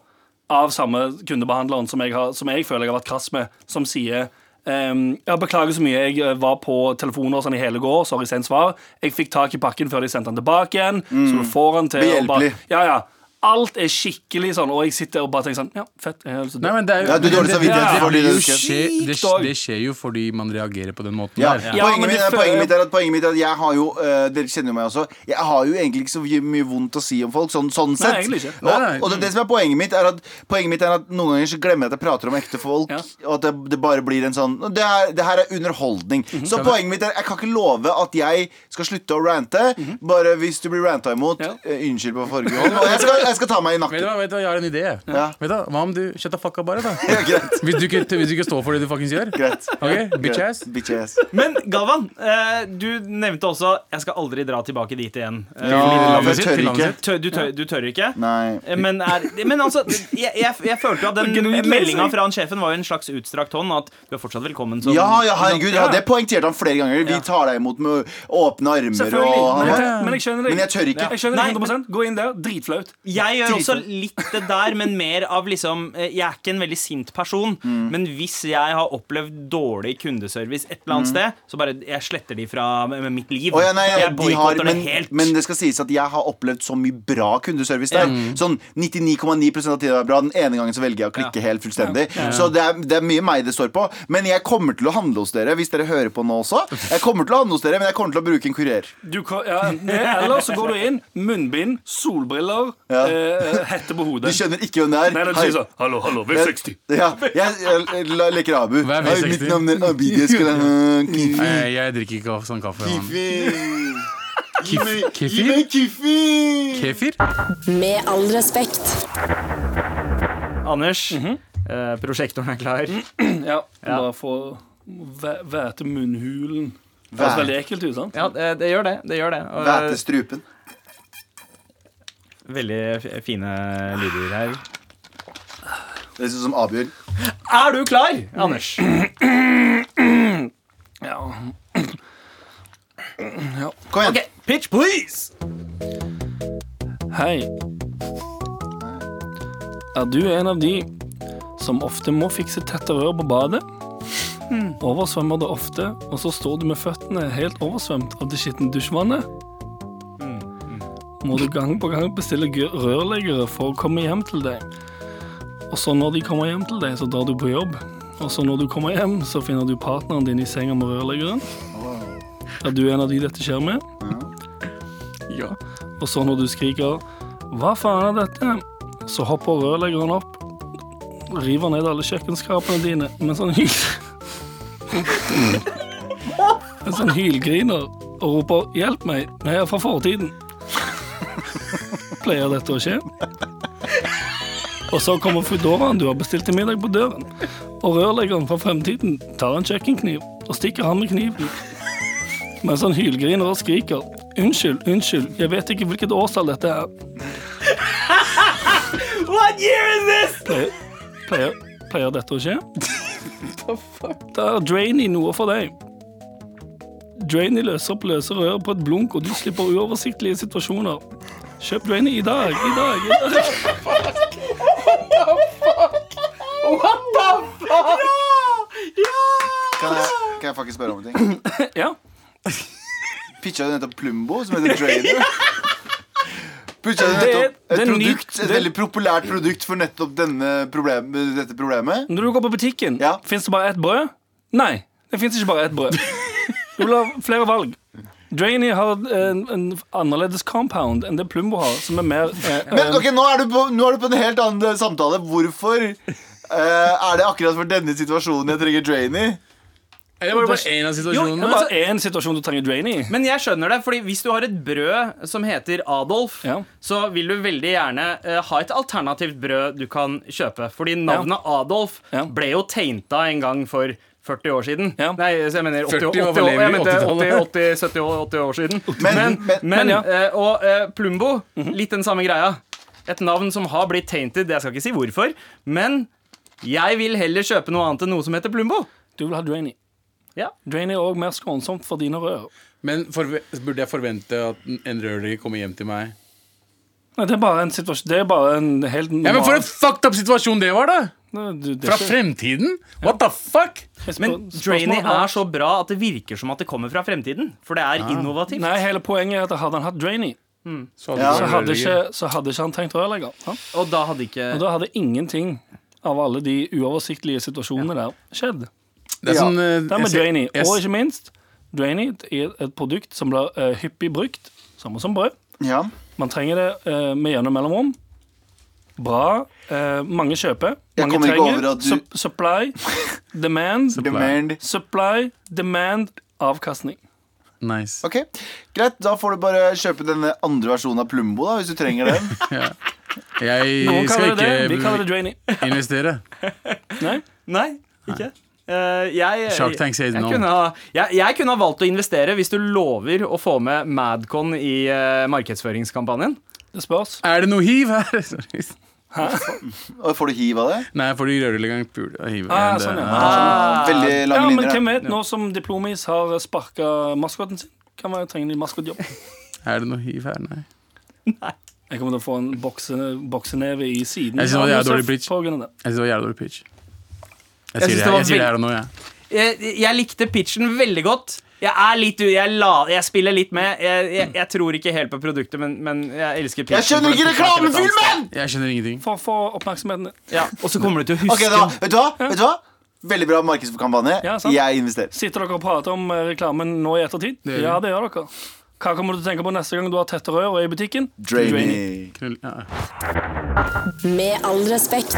av samme kundebehandleren som jeg, har, som jeg føler jeg har vært krass med, som sier ehm, ja, Beklager så mye, jeg eh, var på telefoner og sånn i hele går, sorry sent svar. Jeg fikk tak i pakken før de sendte den tilbake igjen, Mm. så du får den til og Behjelpelig. ja, ja. Alt er skikkelig sånn, og jeg sitter og bare tenker sånn Ja, fett. Jeg, har lyst til å dø. Nei, men det er jo Ja, du har dårlig det- samvittighet det- fordi det, du jo skal- skje, det, Sykt, og- det skjer jo fordi man reagerer på den måten Ja. der. Ja, Poenget, men mitt, det føler- poenget mitt er at, poenget mitt er at jeg har jo eh, Dere kjenner jo meg også. Jeg har jo egentlig ikke så mye vondt å si om folk, sånn, sånn sett. egentlig ikke. Og, Nei, nei. og det, er det som er poenget mitt, er at, poenget mitt er at noen ganger så glemmer jeg at jeg prater om ekte folk, Ja. og at det, det bare blir en sånn Det her, det her er underholdning. Mhm, Så poenget mitt er jeg kan ikke love at jeg skal slutte å rante, Mhm. bare hvis du blir ranta imot. Ja. eh, Unnskyld på forrige gang. Og jeg skal, jeg skal ta meg i Vet nakken. du hva, vet du hva, jeg har en idé. Ja. Vet du, hva, hva om du shut the fuck up bare, da? Ja, greit. Hvis du ikke, hvis du ikke står for det du fuckings gjør. Greit. Ok, bitch Greit. ass. Bitch ass. Men Galvan, eh, du nevnte også 'jeg skal aldri dra tilbake dit igjen'. Eh, Til Ja, landet for jeg sitt, tør til landet ikke. sitt. tør, du, tør, du tør ikke? Nei. Eh, Men, er, men altså, jeg, jeg, jeg følte jo at den meldinga fra han sjefen var jo en slags utstrakt hånd. At du er fortsatt velkommen som Ja, ja, herregud, ja, det poengterte han flere ganger. Vi tar deg imot med åpne armer. Selvfølgelig. Og, Men han, jeg, men jeg skjønner deg. men jeg tør ikke. Jeg skjønner Nei, deg 100 Gå inn der. Dritflaut. Jeg jeg gjør også litt det der, men mer av liksom eh, Jeg er ikke en veldig sint person, Mm. men hvis jeg har opplevd dårlig kundeservice et eller annet sted, så bare jeg sletter de fra eh, med mitt liv. Mm. Å ja, nei, ja, jeg de har, boikotter det men, helt. men det skal sies at jeg har opplevd så mye bra kundeservice der. Sånn 99,9 av tida er bra. Den ene gangen så velger jeg å klikke helt fullstendig. Så det er, det er mye meg det står på. Men jeg kommer til å handle hos dere hvis dere hører på nå også. Jeg kommer til å handle hos dere, men jeg kommer til å bruke en kurer. Du kan, ja, enten det, eller så går du inn, munnbind, solbriller, Ja. eh, hette på hodet. Du skjønner ikke hvem det er. Nei, det Hei. er sånn, Hallo, hallo, V60. Ja, jeg, jeg, jeg leker Abu. Hva er Hei, V60? Mitt navn er Abidi Eskelan. Nei, Kifi. jeg, jeg drikker ikke sånn kaffe. mann. Kifi. Gi Kif, meg- Gi kefir? meg Kifi. Kefir? Med all respekt. Anders, eh, prosjektoren er klar. Ja, bare for væ- væte munnhulen. Det høres veldig ekkelt ut, sant? Ja, det, det gjør det. det, gjør det. Og, Væte strupen. veldig f- fine lyder her. Det ser ut som Abjørn. Er du klar, Anders? Ja. Kom igjen. Ok, Pitch, please! Hei. Er du en av de som ofte må fikse tette rør på badet? Oversvømmer det ofte, og så står du med føttene helt oversvømt av det skitne dusjvannet? Må du gang på gang bestille gu- rørleggere for å komme hjem til deg? Og så når de kommer hjem til deg, så drar du på jobb. Og så når du kommer hjem, så finner du partneren din i senga med rørleggeren. Er du en av de dette skjer med? Ja. Og så når du skriker 'Hva faen er dette?' så hopper rørleggeren opp, river ned alle kjøkkenskrapene dine sånn mens han hyler. Mens han sånn hylgriner og roper 'Hjelp meg, jeg er fra fortiden'. Pleier dette å skje? Og så kommer Foodoraen du har bestilt til middag på døren, og rørleggeren fra fremtiden tar en kjøkkenkniv og stikker han med kniven mens han hylgriner og skriker. Unnskyld, unnskyld, jeg vet ikke hvilket årstall dette er. What year is this? Pleier, pleier, pleier dette å skje? Da er Drainy noe for deg. Drainy løser opp løse rør på et blunk, og du slipper uoversiktlige situasjoner. Kjøp Drainy i dag, i dag, i dag. Kan jeg, kan jeg faktisk spørre om en ting? Ja. Pitcha du nettopp Plumbo, som heter Drainer? Pitcha du Det- nettopp et det er nytt- produkt, et det- veldig populært produkt for nettopp denne problem, dette problemet? Når du går på butikken, Ja. fins det bare ett brød? Nei, det fins ikke bare ett brød. Du vil ha flere valg. Drainy har en, en annerledes compound enn det Plumbo har, som er mer eh, Men ok, nå er du på, nå er du på en helt annen eh, samtale. Hvorfor eh, er det akkurat for denne situasjonen jeg trenger Drainer? Eller var det bare én av Jo, det situasjonene? altså? er bare én situasjon du trenger drain i. Men jeg skjønner det, fordi hvis du har et brød som heter Adolf, Ja. så vil du veldig gjerne eh, ha et alternativt brød du kan kjøpe. Fordi navnet Adolf Ja. ble jo tainta en gang for 40 år siden. Ja. Nei, så jeg mener 80, 40 var 80, vel jeg mente 80, lenge, 80, 70 og 80 år siden. Men- Men, men, men- men ja. Mhm. eh, Og eh, Plumbo, litt den samme greia. Et navn som har blitt tainted, jeg skal ikke si hvorfor, men jeg vil heller kjøpe noe annet enn noe som heter Plumbo. Du vil ha drain i. Ja. Drain i er òg mer skånsomt for dine rør. Men forve- burde jeg forvente at en rørlegger kommer hjem til meg? Nei, det er bare en situasjon Det er bare en helt normal Ja, men For en fucked up situasjon det var, da! Du, det er Fra ikke- fremtiden! What the fuck? Jeg spør- Men spørsmålet Drainy var- er så bra at det virker som at det kommer fra fremtiden. For det er innovativt. Nei, hele poenget er at hadde han hatt drainy, Så hadde Ja. du så vært hadde rørlegger. ikke, så hadde ikke han trengt rørlegger. sant? Og da hadde ikke Og da hadde ingenting av alle de uoversiktlige situasjonene der skjedd. Det er Ja. sånn eh, Det er med jeg ser- drainy. Og jeg s- ikke minst, drainy er et produkt som blir eh, hyppig brukt, samme som brød. Ja. Man trenger det eh, med gjennom mellomrom. Bra. eh, mange kjøper. Jeg Mange kommer ikke trenger. over at du- Sup- supply, demand, Demand. supply, demand, avkastning. Nice. Ok, Greit, da får du bare kjøpe denne andre versjonen av Plumbo, da, hvis du trenger den. Jeg Noen skal kaller det det, vi kaller det ikke drainy. investere. Nei? Nei, ikke. Eh, jeg, Shark Tank sier jeg, no. kunne ha, jeg, jeg kunne ha valgt å investere hvis du lover å få med Madcon i eh, markedsføringskampanjen. Det spørs. Er det noe hiv her? Sorry. Og Får du hiv av det? Nei, for du rørleggeren puler hiv. Ah, Men det- sånn, ja. Veldig Ja, lange men linjer. hvem da. vet, nå som Diplomis har sparka maskoten sin, kan være trenger de maskotjobb. Er det noe hiv her? Nei. Jeg kommer til å få en bokse, bokseneve i siden. Jeg synes det var av jævlig Josef dårlig pitch. på grunn av det. Jeg synes det var jævlig dårlig pitch. Jeg sier Jeg synes det, det var jeg sier det veld- her og nå, jeg. Jeg, jeg likte pitchen veldig godt. Jeg er litt u... Jeg, la, jeg spiller litt med. Jeg, jeg, jeg tror ikke helt på produktet, men, men jeg elsker pitchen. Jeg skjønner ikke for det tok meg til et annet sted. reklamefilmen! Jeg skjønner ingenting. For å få oppmerksomheten din. Ja, og så kommer du til å huske Ok, da, vet du hva? Vet du hva? Veldig bra markedskampanje. Ja, sant. Jeg investerer. Sitter dere og prater om eh, reklamen nå i ettertid? Det gjør ja, det gjør dere. Hva kommer du til å tenke på neste gang du har tette rør og er i butikken? Drainy. Knull- Ja. Med all respekt.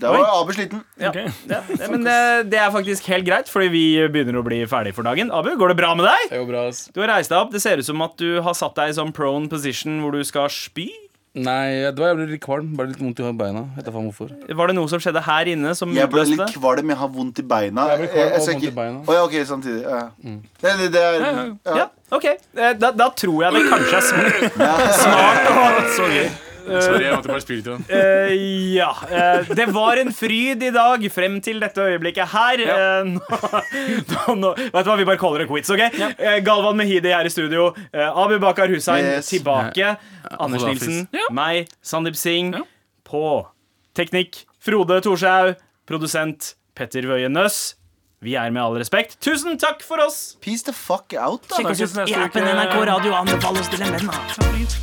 Da var Abus liten. Ja. Ok. Ja, ja, men det, det er faktisk helt greit, fordi vi begynner å bli ferdig for dagen. Abu, går det bra med deg? Det går bra, ass. Du har reist deg opp. Det ser ut som at du har satt deg i sånn prone position hvor du skal spy. Nei, jeg- det var jævlig kvalm. Bare litt vondt i beina. Vet da faen hvorfor. Var det noe som skjedde her inne som Jeg ble litt utløste det? kvalm, jeg har vondt i beina. Jeg ble kvalm og skal vondt i beina. Å ja, ok, samtidig. Ja. Mm. Det, det, det er ja. Ja, ok. Eh, Da, da tror jeg det kanskje er smart. Så gøy. Sorry, jeg måtte bare spille til den. Eh, ja. Eh, det var en fryd i dag frem til dette øyeblikket her. Eh, nå, nå, nå, vet du hva, vi bare caller det quits, OK? Eh, Galvan Mehidi her i studio. Eh, Abu Bakar Hussein Yes. tilbake. Anders Olafis. Nilsen. Ja. Meg. Sandeep Singh. Ja. På teknikk. Frode Thorshaug. Produsent Petter Wøie Nøss. Vi er med all respekt. Tusen takk for oss! Peace the fuck out, da. Sjekk oss ut Snakkes i neste appen uke. NRK Radio. Anbefal oss til en venn. da.